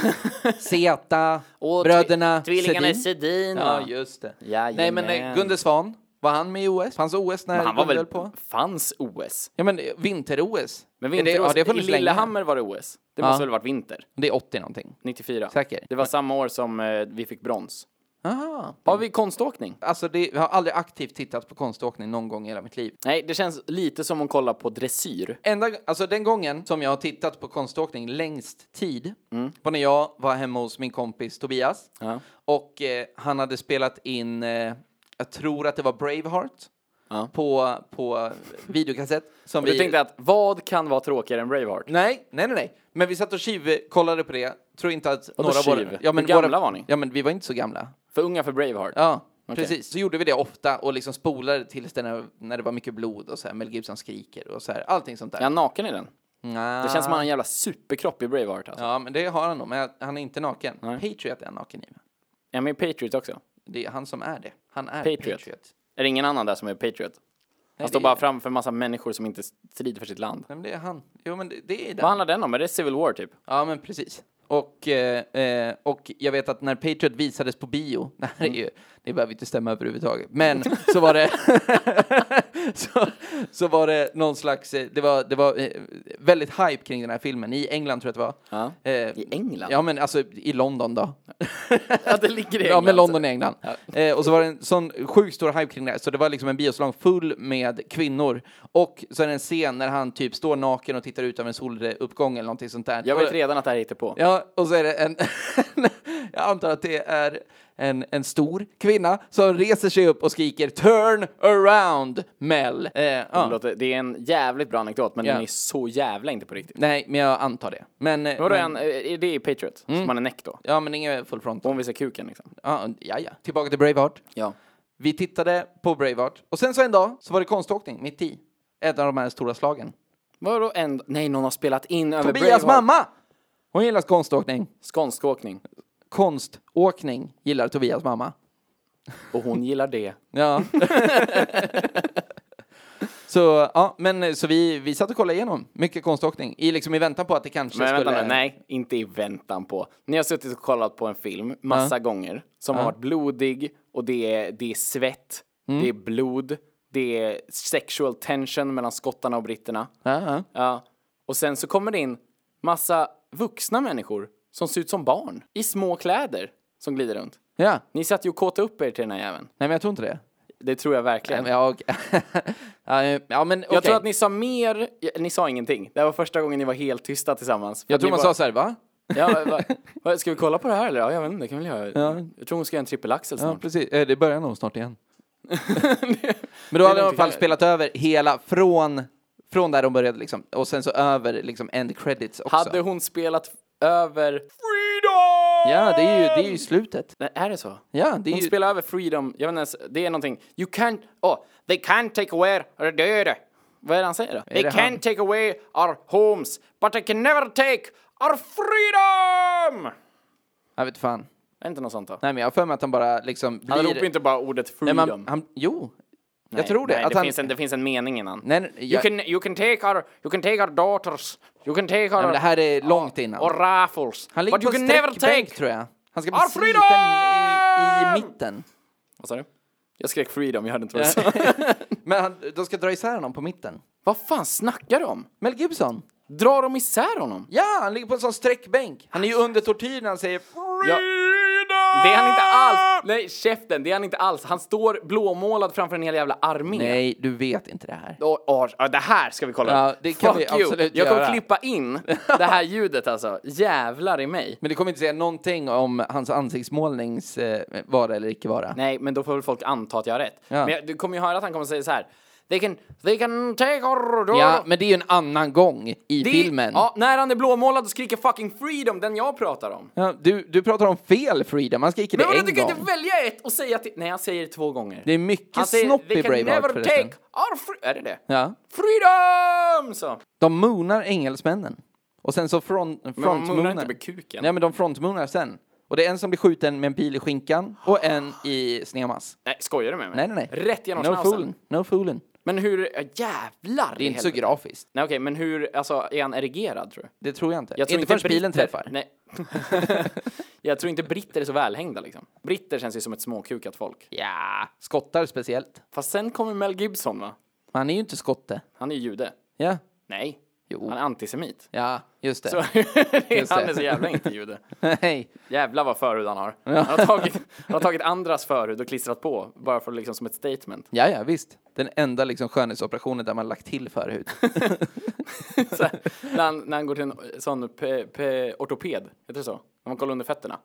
Zeta, Och Bröderna tvi- Tvillingarna Sedin. Sedin. Ja, va? just det. Jajamän. Nej, men eh, Gunde Svan. Var han med i OS? Fanns OS när Men han var Gunde väl... höll på? Fanns OS? Ja, men eh, vinter-OS. Men Är det- vinter-OS, ja, det i har funnits länge. Lillehammer var det OS. Det måste väl varit vinter? Det är 80 någonting. 94. Säker? Det var samma år som eh, vi fick brons. Aha. Har vi konståkning? Alltså, det, jag har aldrig aktivt tittat på konståkning någon gång i hela mitt liv. Nej, det känns lite som att kolla på dressyr. Enda, alltså den gången som jag har tittat på konståkning längst tid var när jag var hemma hos min kompis Tobias. Mm. Ja. Och eh, han hade spelat in, eh, jag tror att det var Braveheart, Ja. på, på videokassett. Som Du tänkte att vad kan vara tråkigare än Braveheart? Nej, nej, nej, nej. Men vi satt och tjuvkollade på det. Tror inte att några tjuv? Hur gamla var ni? Ja, men vi var inte så gamla. För unga för Braveheart? Ja, Precis, så gjorde vi det ofta och liksom spolade tills det när, när det var mycket blod och så här, Mel Gibson skriker och så här, allting sånt där. Är han naken i den? Nja. Det känns som han har en jävla superkropp i Braveheart alltså. Ja, men det har han nog, men han är inte naken. Patriot är han naken i. Är han med i Patriot också? Det är han som är det. Han är Patriot. Patriot. Är det ingen annan där som är Patriot? Han det står är- bara framför en massa människor som inte strider för sitt land. Nej, men det är han. Jo, men det, det är Vad den. handlar den om? Är det Civil War typ? Ja, men precis. Och, eh, eh, och jag vet att när Patriot visades på bio, det här är ju, det behöver inte stämma överhuvudtaget, men så var det, så, så var det någon slags, eh, det var, det var eh, väldigt hype kring den här filmen, i England tror jag att det var. Ja. Eh, I England? Ja, men alltså i London då. Ja, det ligger i Ja, England. men London i England. Eh, och så var det en sån sjukt stor hype kring det här, så det var liksom en biosalong full med kvinnor. Och så är det en scen när han typ står naken och tittar ut över en soluppgång eller någonting sånt där. Jag vet Och- redan att det här hittar på. Ja, och så är det en... jag antar att det är en, en stor kvinna som reser sig upp och skriker “Turn around, Mel!” eh, Det, ja. låter, det är en jävligt bra anekdot, men Ja. den är så jävla inte på riktigt. Nej, men jag antar det. Men... eh, Vadå, är men han- är det i Patriot? Som han är näck då? ja, men ingen full front. Hon visar kuken liksom. Ja, ja, ja. Tillbaka till Braveheart. Ja. Vi tittade på Braveheart och sen så en dag så var det konståkning mitt i. Ett av de här stora slagen. Vadå en... Nej, någon har spelat in över Tobias mamma! Hon gillar konståkning. Skånsk åkning. Konståkning gillar Tobias mamma. Och hon gillar det. Ja. så ja, men så vi, vi satt och kollade igenom mycket konståkning i liksom i väntan på att det kanske Men skulle... vänta nu, nej, inte i väntan på. Ni har suttit och kollat på en film massa gånger som har varit blodig och det är, det är svett, det är blod, det är sexual tension mellan skottarna och britterna. Ja, ja. Ja. Och sen så kommer det in massa vuxna människor som ser ut som barn i små kläder som glider runt. ja. Ni satt ju och kåtade upp er till den här jäveln. Nej, men jag tror inte det. Det tror jag verkligen. Nej, men jag... ja, eh, ja, men okej. Jag tror att ni sa mer, ja, ni sa ingenting. Det här var första gången ni var helt tysta tillsammans. För jag att tror ni man bara- sa så här, va? Ja, va, va, ska vi kolla på det här eller? Ja, jag vet inte, det kan vi väl göra. Ja. Jag tror hon ska göra en trippelaxel Ja, snart. precis. Eh, Det börjar nog snart igen. men då hade de i alla fall någonting- spelat över hela från, från där de började liksom. Och sen så över liksom end credits också. Hade hon spelat över Freedom? Ja, det är ju, det är ju slutet. Nej, är det så? Ja, det är Hon ju... spelar över Freedom, jag vet inte ens, det är någonting. You can't, oh, they can't take away our död. Vad är det han säger då? They det can't han? take away our homes, but they can never take our freedom! Jag vet fan. Är det inte något sånt då? Nej, men jag har för mig att han bara liksom blir... Han ropar inte bara ordet freedom. Nej, man, han, jo, jag tror det. Nej, att det, han, finns en, det finns en mening innan. Nej, nej, You jag, can, you can take our, you can take our daughters, you can take men our, det här är långt innan. och raffles. han ligger But på you en can never sträckbänk, take... tror jag. Han ska bli Our sliten i, i freedom! mitten. Vad sa du? Jag skrek freedom, jag hörde inte vad du sa. Men han, de ska dra isär honom på mitten. Vad fan snackar du om? Mel Gibson. Drar de isär honom? Ja, han ligger på en sån sträckbänk. Han är ju under tortyr när han säger Ja. Det är han inte alls! Nej, käften, det är han inte alls. Han står blåmålad framför en hel jävla armé. Nej, du vet inte det här. Åh, åh, ja, det här ska vi kolla Ja, upp. det kan Fuck vi you. absolut Jag kommer göra. klippa in det här ljudet alltså. Jävlar i mig. Men det kommer inte säga någonting om hans ansiktsmålnings eh, vara eller icke vara. Nej, men då får väl folk anta att jag har rätt. Ja. Men jag, du kommer ju höra att han kommer säga så här. They can, they can take our... Ja, men det är ju en annan gång i Det- filmen. Ja, när han är blåmålad och skriker fucking freedom, den jag pratar om. Ja, du, du pratar om fel freedom, han skriker Men det vadå, en du gång. kan inte välja ett och säga till... Nej, han säger det två gånger. Det är mycket han säger, snopp "They i can never Braveheart förresten. take our free... Är det det? Ja. Freedom! Så. De moonar engelsmännen. Och sen så front, man moonar frontmoonar... inte med kuken. Nej, men de frontmoonar sen. Och det är en som blir skjuten med en pil i skinkan och en i snemas. Nej, skojar du med mig? Nej, nej, nej. Rätt genom no snausen. fooling. No fooling. Men hur... ja, Jävlar Det är inte så grafiskt. Nej, okej, men hur... Alltså, är han erigerad, tror du? Det tror jag inte. Jag tror inte förrän bilen britter- träffar. Nej. jag tror inte britter är så välhängda, liksom. Britter känns ju som ett småkukat folk. Ja, skottar speciellt. Fast sen kommer Mel Gibson, va? Men han är ju inte skotte. Han är ju jude. Ja. Nej. Jo. Han är antisemit. Ja, just det. Så, han är det. så jävla inte jude. Nej. Jävlar vad förhud han har. Han har tagit, han har tagit andras förhud och klistrat på, bara för liksom som ett statement. Ja, ja, visst. Den enda liksom skönhetsoperationen där man lagt till förhud. Så här, när, han, när han går till en sån pe, pe, ortoped, heter det så? När man kollar under fötterna.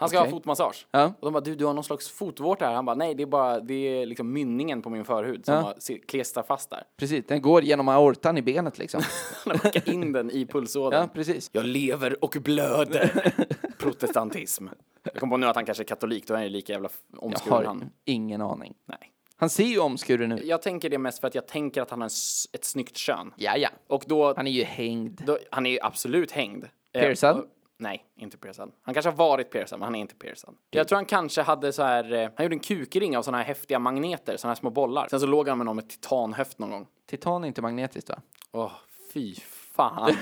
Han ska Okej. ha fotmassage. Ja. Och de bara, du, du har någon slags fotvårta här. Han bara, nej, det är bara, det är liksom mynningen på min förhud som Ja. har si- klistrat fast där. Precis, den går genom aortan i benet liksom. Han har skickat in den i pulsådern. Ja, precis. Jag lever och blöder. protestantism. Jag kom på nu att han kanske är katolik, då är han ju lika jävla f- Jag omskuren har han. ingen aning. Nej. Han ser ju omskuren ut. Jag tänker det mest för att jag tänker att han har en s- ett snyggt kön. Ja, ja. Och då, Han är ju hängd. då han är ju absolut hängd. Eh, Piercad? och- nej, inte piercad. Han kanske har varit piercad, men han är inte piercad. Jag tror han kanske hade så här, eh, han gjorde en kukring av såna här häftiga magneter, såna här små bollar. Sen så låg han med någon med titanhöft någon gång. Titan är inte magnetiskt va? Åh, fy fan.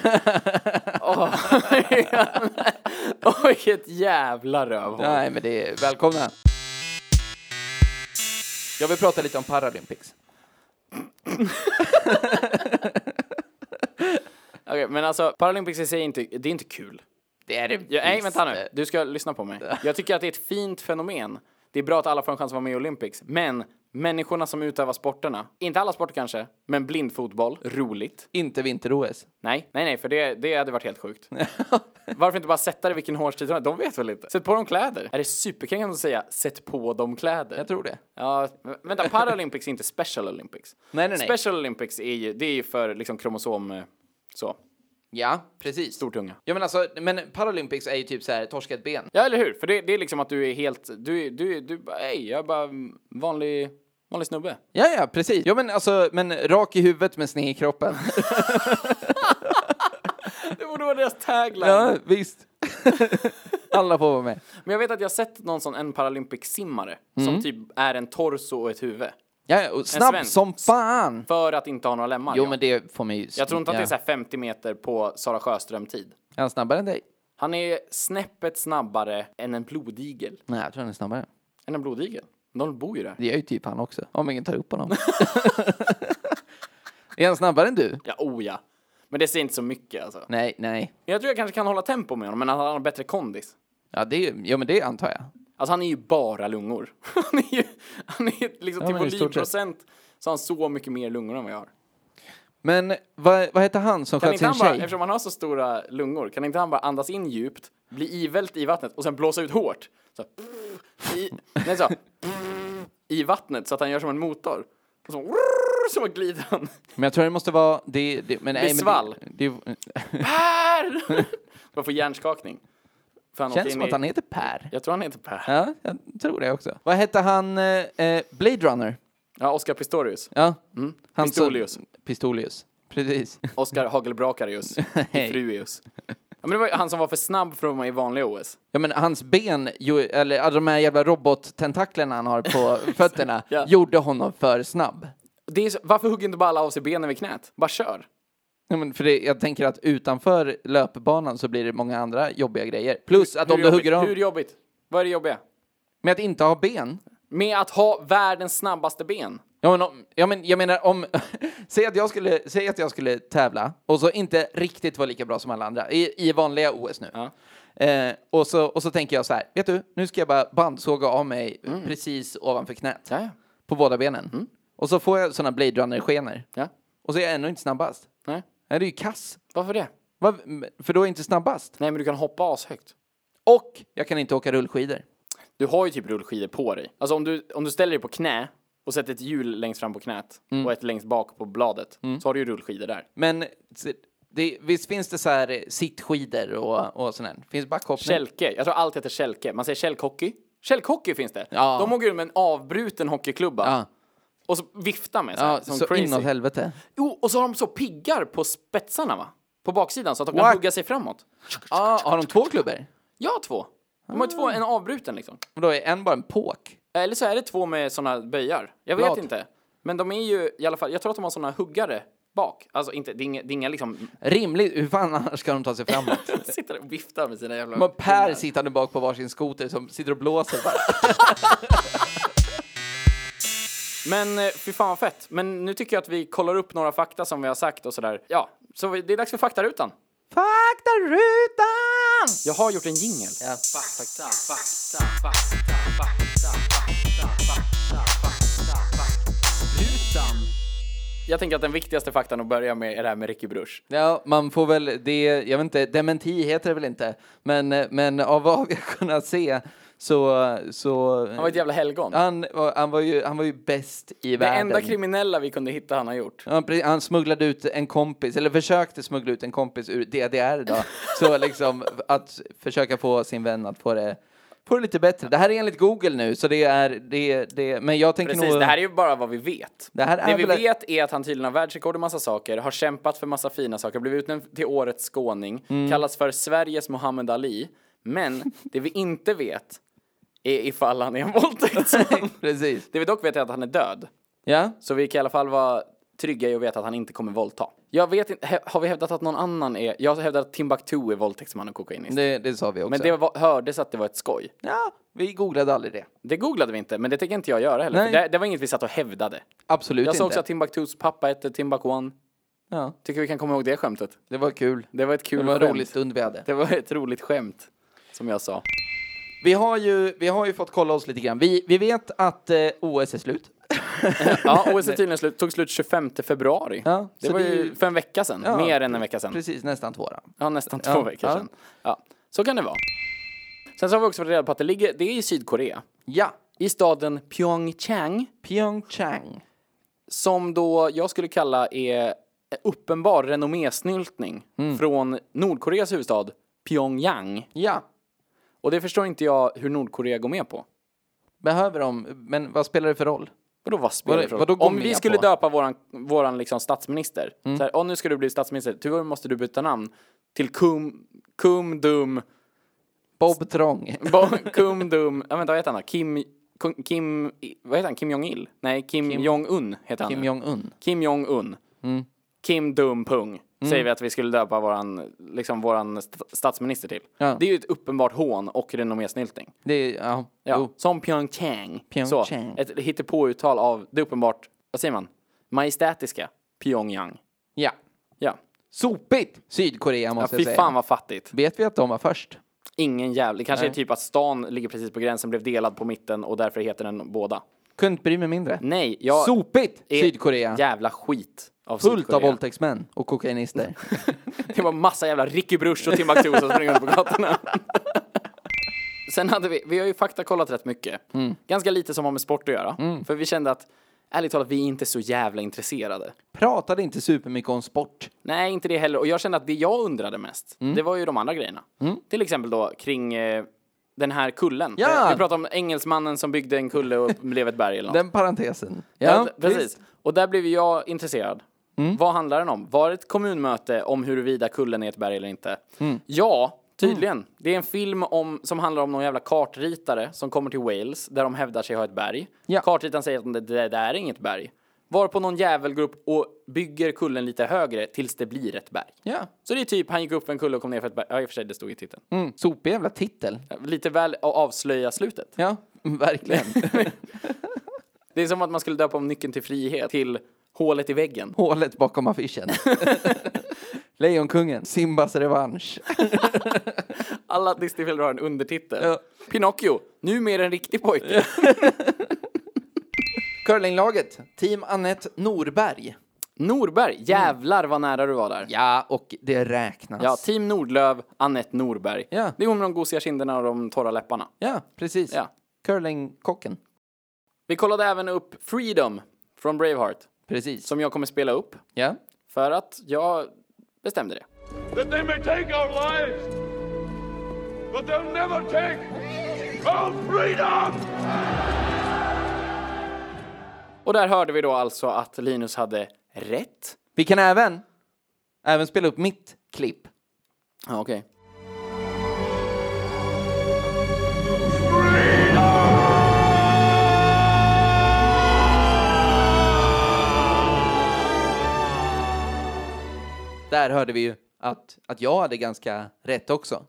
Åh, Åh, vilket jävla rövhål. Nej, men det är välkomna. Jag vill prata lite om Paralympics. Okej, men alltså Paralympics i sig är inte, det är inte kul. Det är det Ja, nej, visst. Eh. vänta nu. Du ska lyssna på mig. Jag tycker att det är ett fint fenomen. Det är bra att alla får en chans att vara med i Olympics. Men människorna som utövar sporterna, inte alla sporter kanske, men blindfotboll, roligt. Inte vinter-OS. Nej, nej, nej, för det, det hade varit helt sjukt. Varför inte bara sätta det vilken hårstid som helst? De vet väl inte? Sätt på dem kläder. Är det superkränkande att säga sätt på dem kläder? Jag tror det. Ja, vä- vänta, Paralympics är inte Special Olympics. Nej, nej, nej. Special Olympics är ju, det är ju för liksom kromosom, eh, så, Ja, precis. stortunga. Ja, men alltså, men Paralympics är ju typ så här, torska ett ben. Ja, eller hur? För det, det är liksom att du är helt, du, är- du, är- du, bara, hej, jag är bara mm, vanlig, vanlig snubbe. Ja, ja, precis. Ja, men alltså, men rak i huvudet men sned i kroppen. Det borde vara deras tagline. ja, visst. Alla får vara med. Men jag vet att jag har sett någon sån, en Paralympics-simmare, som typ är en torso och ett huvud. Ja, ja, och snabb svensk. som fan! För att inte ha några lemmar. Jo, ja. men det får mig ju... Jag tror inte att ja. det är så här 50 meter på Sara Sjöström-tid. Är han snabbare än dig? Han är snäppet snabbare än en blodigel. Nej, jag tror han är snabbare. Än en blodigel? De bor ju där. Det är ju typ han också, om ingen tar upp honom. är han snabbare än du? Ja, oh ja. Men det säger inte så mycket alltså. Nej, nej. Men jag tror jag kanske kan hålla tempo med honom, men att han har bättre kondis. Ja, det, är- ja men det antar jag. Alltså han är ju bara lungor. Han är ju, han är ju liksom Ja, till men i stort sett. volymprocent så har han så mycket mer lungor än vad jag har. Men vad, vad heter han som Kan sköt inte sin han bara, tjej? eftersom han har så stora lungor, kan inte han bara andas in djupt, bli ivält i vattnet och sen blåsa ut hårt? Så, i, nej, så, I vattnet så att han gör som en motor. Och så, så bara glider han. Men jag tror det måste vara... Det, det, men, nej, men Svall. Det, det, Per! Bara får hjärnskakning. För han åkte känns in som att i- han heter Per. Jag tror han heter Per. Ja, jag tror det också. Vad hette han? eh, Eh, Blade Runner? Ja, Oscar Pistorius. Ja. Han som- Mm. Pistolius. Pistolius. Precis. Oscar Hagelbrakarius. Nej. Fruius. Ja, men det var ju han som var för snabb för att vara med i vanliga OS. Ja men hans ben, ju, eller alla de här jävla robottentaklerna han har på fötterna, Ja. gjorde honom för snabb. Det är så, varför hugger inte bara alla av sig benen vid knät? Bara kör. Ja, men för det, jag tänker att utanför löpbanan så blir det många andra jobbiga grejer. Plus att om Hur du jobbigt? hugger av Hur jobbigt? Vad är det jobbiga? med att inte ha ben. Med att ha världens snabbaste ben. Ja men, om, ja, men jag menar om, säg, att jag skulle, säg att jag skulle tävla och så inte riktigt vara lika bra som alla andra i, i vanliga OS nu. Eh, och, så, och så tänker jag så här, vet du, nu ska jag bara bandsåga av mig Mm. precis ovanför knät. Ja, ja. På båda benen. Mm. Och så får jag såna Blade Runner-skenor. Ja. Och så är jag ändå inte snabbast. Nej. Nej, det är ju kass. Varför det? Va? För då är jag inte snabbast. Nej, men du kan hoppa ashögt. Och jag kan inte åka rullskidor. Du har ju typ rullskidor på dig. Alltså om du, om du ställer dig på knä och sätter ett hjul längst fram på knät och ett längst bak på bladet så har du ju rullskidor där. Men se- det, visst finns det så här eh, sittskidor och, och sånt där? Finns backhoppning? Kälke. Jag tror allt heter kälke. Man säger kälkhockey. Kälkhockey finns det. Ja. De åker ut med en avbruten hockeyklubba Ja. och så viftar med så, här, Ja, som så crazy. inåt helvete. Jo, och så har de så piggar på spetsarna va? På baksidan så att de kan What? hugga sig framåt. Ja, har de två klubbor? Ja, två. De har ju två, en avbruten liksom. Och då är en bara en påk. Eller så är det två med såna böjar. Jag vet Blad. inte. Men de är ju i alla fall, jag tror att de har såna huggare bak. Alltså inte, det är inga, det är inga liksom, Rimligt, hur fan annars ska de ta sig framåt? sitter och viftar med sina jävla... De har Per sittande bak på varsin skoter som sitter och blåser bara. Men eh, fy fan vad fett. Men nu tycker jag att vi kollar upp några fakta som vi har sagt och sådär. Ja, så vi- det är dags för faktarutan. Faktarutan! Jag har gjort en jingel. Ja. Jag tänker att den viktigaste faktan att börja med är det här med Ricky Bruch. Ja, man får väl, det, jag vet inte, dementi heter det väl inte, men, men av vad vi har kunnat se Så, så... Han var ett jävla helgon. Han, var- han var ju, han var ju bäst i det världen. enda kriminella vi kunde hitta han har gjort. Ja, pre- Han smugglade ut en kompis, eller försökte smuggla ut en kompis ur DDR då. Så liksom att försöka få sin vän att få det, få det lite bättre. Det här är enligt Google nu, så det är, det, det men jag tänker Precis, nog... det här är ju bara vad vi vet. Det här är vi väl- vet är att han tydligen har världsrekord i massa saker, har kämpat för massa fina saker, blivit utnämnd till årets skåning, kallas för Sveriges Muhammad Ali. Men det vi inte vet är ifall han är en våldtäktsman. Precis. det vi dock vet är att han är död. Ja? Så vi kan i alla fall vara trygga i att veta att han inte kommer våldta. Jag vet inte, he- har vi hävdat att någon annan är, jag har hävdat att Timbuktu är våldtäktsman och kokainist. Det, det sa vi också. Men det var, hördes att det var ett skoj. Ja, vi googlade aldrig det. Det googlade vi inte, men det tänker inte jag göra heller. För Nej. det, det var inget vi satt och hävdade. Absolut Jag inte. såg också att Timbuktus pappa hette Timbuktuan. ja, Tycker vi kan komma ihåg det skämtet. det var kul. Det var ett kul Det var en skämt. rolig stund vi hade. Det var ett roligt skämt, som jag sa. Vi har ju, vi har ju fått kolla oss lite grann. Vi, vi vet att eh, OS är slut. Mm. Ja, OS är tydligen slut, tog slut 25 februari. Ja, det så var det är ju ju- för en vecka sedan. Ja, Mer än en vecka sedan. Precis, nästan två då. Ja, nästan två Ja, veckor ja. sedan. Ja, så kan det vara. Sen så har vi också fått reda på att det ligger, det är i Sydkorea. Ja, I staden Pyeongchang, Pyeongchang. som då jag skulle kalla är uppenbar renommésnyltning Mm. från Nordkoreas huvudstad Pyongyang. Ja, Och det förstår inte jag hur Nordkorea går med på. behöver de, men vad spelar det för roll? Vadå vad spelar Vadå- det för vadå roll? gå Om vi med skulle på? Mm. döpa våran, våran liksom statsminister, så här, "Åh, nu ska du bli statsminister, tyvärr måste du byta namn till Kum, Kum Dum, Bob Trong. Bo, Kum Dum, ja vänta vad heter han då? Kim, Kun- Kim, I- vad heter han? Kim Jong-Il? Nej, Kim, Jong-Un heter han Kim Mm. nu. Jong-Un. Kim Jong-Un. Kim Dum Pung, Mm. säger vi att vi skulle döpa våran, liksom våran st- statsminister till. Ja. Det är ju ett uppenbart hån och renommésnyltning. Det är, ja, Ja, jo. som Pyeongchang. Pyeongchang. Så, ett hittepåuttal av det uppenbart, vad säger man, majestätiska Pyongyang. Ja. Ja, Sopigt! Sydkorea ja måste fy jag säga. fan vad fattigt. Vet vi att de var först? Ingen jävla, det kanske är typ att stan ligger precis på gränsen, blev delad på mitten och därför heter den båda. Kunde inte bry mig mindre. Nej, jag... Sopigt! är Sydkorea. Jävla skit av Fullt E- Sydkorea. av våldtäktsmän och kokainister. Det var massa jävla Ricky Bruch och Timbuktu som springer runt på gatorna. Sen hade vi, vi har ju faktakollat rätt mycket. Mm. Ganska lite som har med sport att göra. För vi kände att, ärligt talat, vi är inte så jävla intresserade. Pratade inte supermycket om sport. Nej, inte det heller. Och jag kände att det jag undrade mest, Mm. det var ju de andra grejerna. Till exempel då kring eh, den här kullen. Ja! Vi pratade om engelsmannen som byggde en kulle och blev ett berg eller något. Den parentesen. Ja, precis. Mm. visst. Och där blev jag intresserad. Vad handlar den om? Var det ett kommunmöte om huruvida kullen är ett berg eller inte? Ja, tydligen. Det är en film om, som handlar om någon jävla kartritare som kommer till Wales där de hävdar sig ha ett berg. Ja. Kartritaren säger att det, det där är inget berg. Varpå någon jävel går upp och bygger kullen lite högre tills det blir ett berg. Ja. Så det är typ, han gick upp för en kulle och kom ner för ett berg. Ja, i och för sig, det stod i titeln. Mm. Sopig jävla titel. Lite väl att avslöja slutet. Ja, verkligen. Det är som att man skulle döpa om Nyckeln till frihet till Hålet i väggen. Hålet bakom affischen. Lejonkungen. Simbas revansch. Alla Disneyfilmer har en undertitel. Ja. Pinocchio, numera en riktig pojke. Curlinglaget. Team Annette Norberg. Mm. Norberg, jävlar vad nära du var där. Ja, och det räknas. Ja, Team Nordlöv, Annette Norberg. Ja. Det är hon med de gosiga kinderna och de torra läpparna. Ja, precis. Ja. Curlingkocken. Vi kollade även upp Freedom från Braveheart, Precis. som jag kommer spela upp, Ja. för att jag bestämde det. that they may take our lives, but they'll never take our freedom! Och där hörde vi då alltså att Linus hade rätt. Vi kan även, även spela upp mitt klipp. Ja, okej. Där hörde vi ju att, att jag hade ganska rätt också.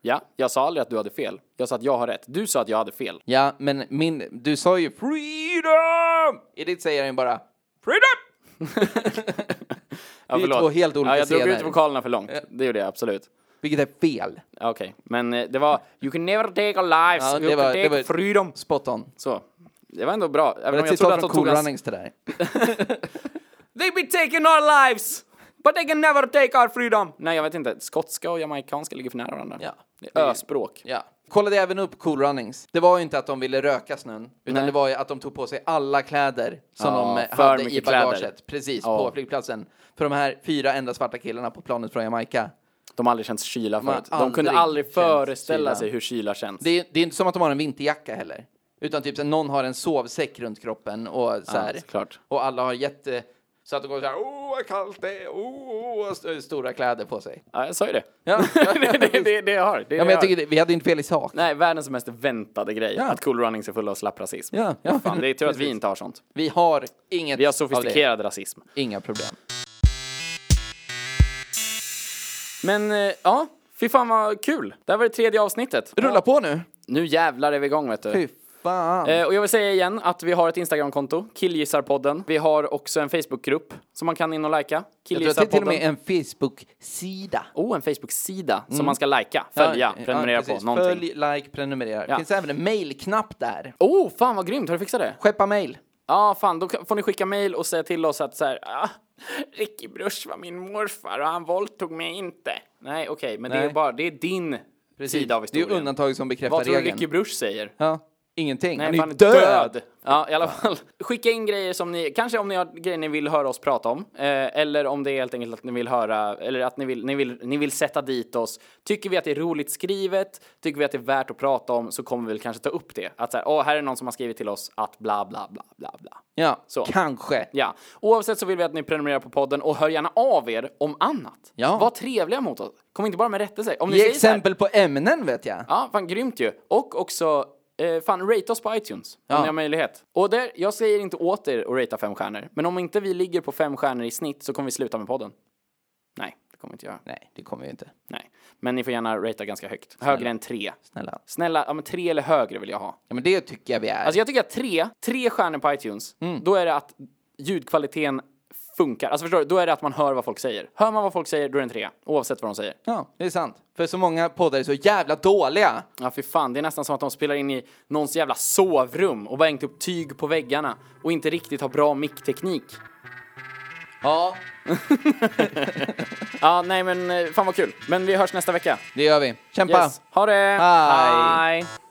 Ja, jag sa aldrig att du hade fel. Jag sa att jag har rätt. Du sa att jag hade fel. Ja, men min, du sa ju freedom! I ditt säger jag ju bara freedom! Ja, är två helt olika ja, jag drog scener. ut vokalerna för långt. Det gjorde jag absolut. Vilket är fel. Okej, men eh, det var You can never take our lives, Ja, you det can var, take det var freedom. spot on. Så. Det var ändå bra. Även Det var om ett jag trodde citat att de från tog Cool hans... Runnings det där. They be taking our lives! But they can never take our freedom! Nej, jag vet inte. Skotska och jamaicanska ligger för nära varandra. Ja. Det är öspråk. Ja. Kollade även upp Cool Runnings. Det var ju inte att de ville röka snön, utan Nej. det var ju att de tog på sig alla kläder som Ja, de eh, för hade i mycket bagaget. kläder. Precis, Ja. på flygplatsen. För de här fyra enda svarta killarna på planet från Jamaica. De har aldrig känt kyla Man förut. De aldrig kunde aldrig känt föreställa kyla. sig hur kyla känns. Det är, det är inte som att de har en vinterjacka heller. Utan typ så här, någon har en sovsäck runt kroppen och så här. såklart. Och alla har jätte... Så att de går så här, åh vad kallt det är, åh, åh, st- stora kläder på sig. Ja, jag sa ju det. Ja. det, det, det, det jag har. Det, är det Ja, men jag har. tycker det, vi hade inte fel i sak. Nej, världens mest väntade grej. Ja. Att Cool Runnings är fulla av slapp rasism. Ja, ja. Fan, det är tur att vi Precis. inte har sånt. Vi har inget Vi har av sofistikerad rasism. det. Inga problem. Men eh, ja, fy fan vad kul. Det här var det tredje avsnittet. Rulla på nu. Nu jävlar är vi igång vet du. Fy fan. Eh, Och jag vill säga igen att vi har ett Instagramkonto, Killgissarpodden. Vi har också en Facebookgrupp som man kan in och lika. jag tror att det är till och Killgissarpodden. med en Facebook-sida. Oh, en Facebook-sida som man ska lika, följa, Ja, ja, prenumerera precis. på, någonting. Följ, like, prenumerera. Ja. Finns även en mailknapp där. Oh, fan vad grymt, har du fixat det? Skeppa mail. Ja, fan, då kan- får ni skicka mejl och säga till oss att så här, ah, Ricky Brush var min morfar och han våldtog mig inte. Nej, okej, men det Nej. är bara, det är din sida av Det är ju historien. undantag som bekräftar vad tror du regeln. Ricky Brush säger? Ja, ingenting. Nej, Han är fan, ju död. Ja, i alla fall. Skicka in grejer som ni, kanske om ni har grejer ni vill höra oss prata om, eh, eller om det är helt enkelt att ni vill höra, eller att ni vill, ni vill, ni vill sätta dit oss. Tycker vi att det är roligt skrivet, tycker vi att det är värt att prata om, så kommer vi väl kanske ta upp det. Att så här, åh, här är någon som har skrivit till oss att bla, bla, bla, bla, bla. Ja, Så. kanske. Ja, oavsett så vill vi att ni prenumererar på podden och hör gärna av er om annat. Ja. Var trevliga mot oss. Kom inte bara med rättelser. Om ni Ge säger så här- exempel på ämnen vet jag. Ja, fan grymt ju. Och också, eh, fan rate oss på iTunes om ni har möjlighet. Och där, jag säger inte åt er att ratea fem stjärnor, men om inte vi ligger på fem stjärnor i snitt så kommer vi sluta med podden. Nej, det kommer vi inte göra. Nej, det kommer vi inte. Nej. Men ni får gärna ratea ganska högt. Högre än tre. Snälla. Snälla, ja men tre eller högre vill jag ha. Ja, men det tycker jag vi är. Alltså jag tycker att tre, tre stjärnor på iTunes, då är det att ljudkvaliteten funkar. Alltså förstår du, då är det att man hör vad folk säger. Hör man vad folk säger, då är det en trea. Oavsett vad de säger. Ja, det är sant. För så många poddar är så jävla dåliga. Ja, för fan. Det är nästan som att de spelar in i någons jävla sovrum och bara hängt upp tyg på väggarna och inte riktigt har bra mickteknik. Ja, Ja, nej men eh, fan vad kul. Men vi hörs nästa vecka. det gör vi. Kämpa! Yes. Ha det! Hej. Hej.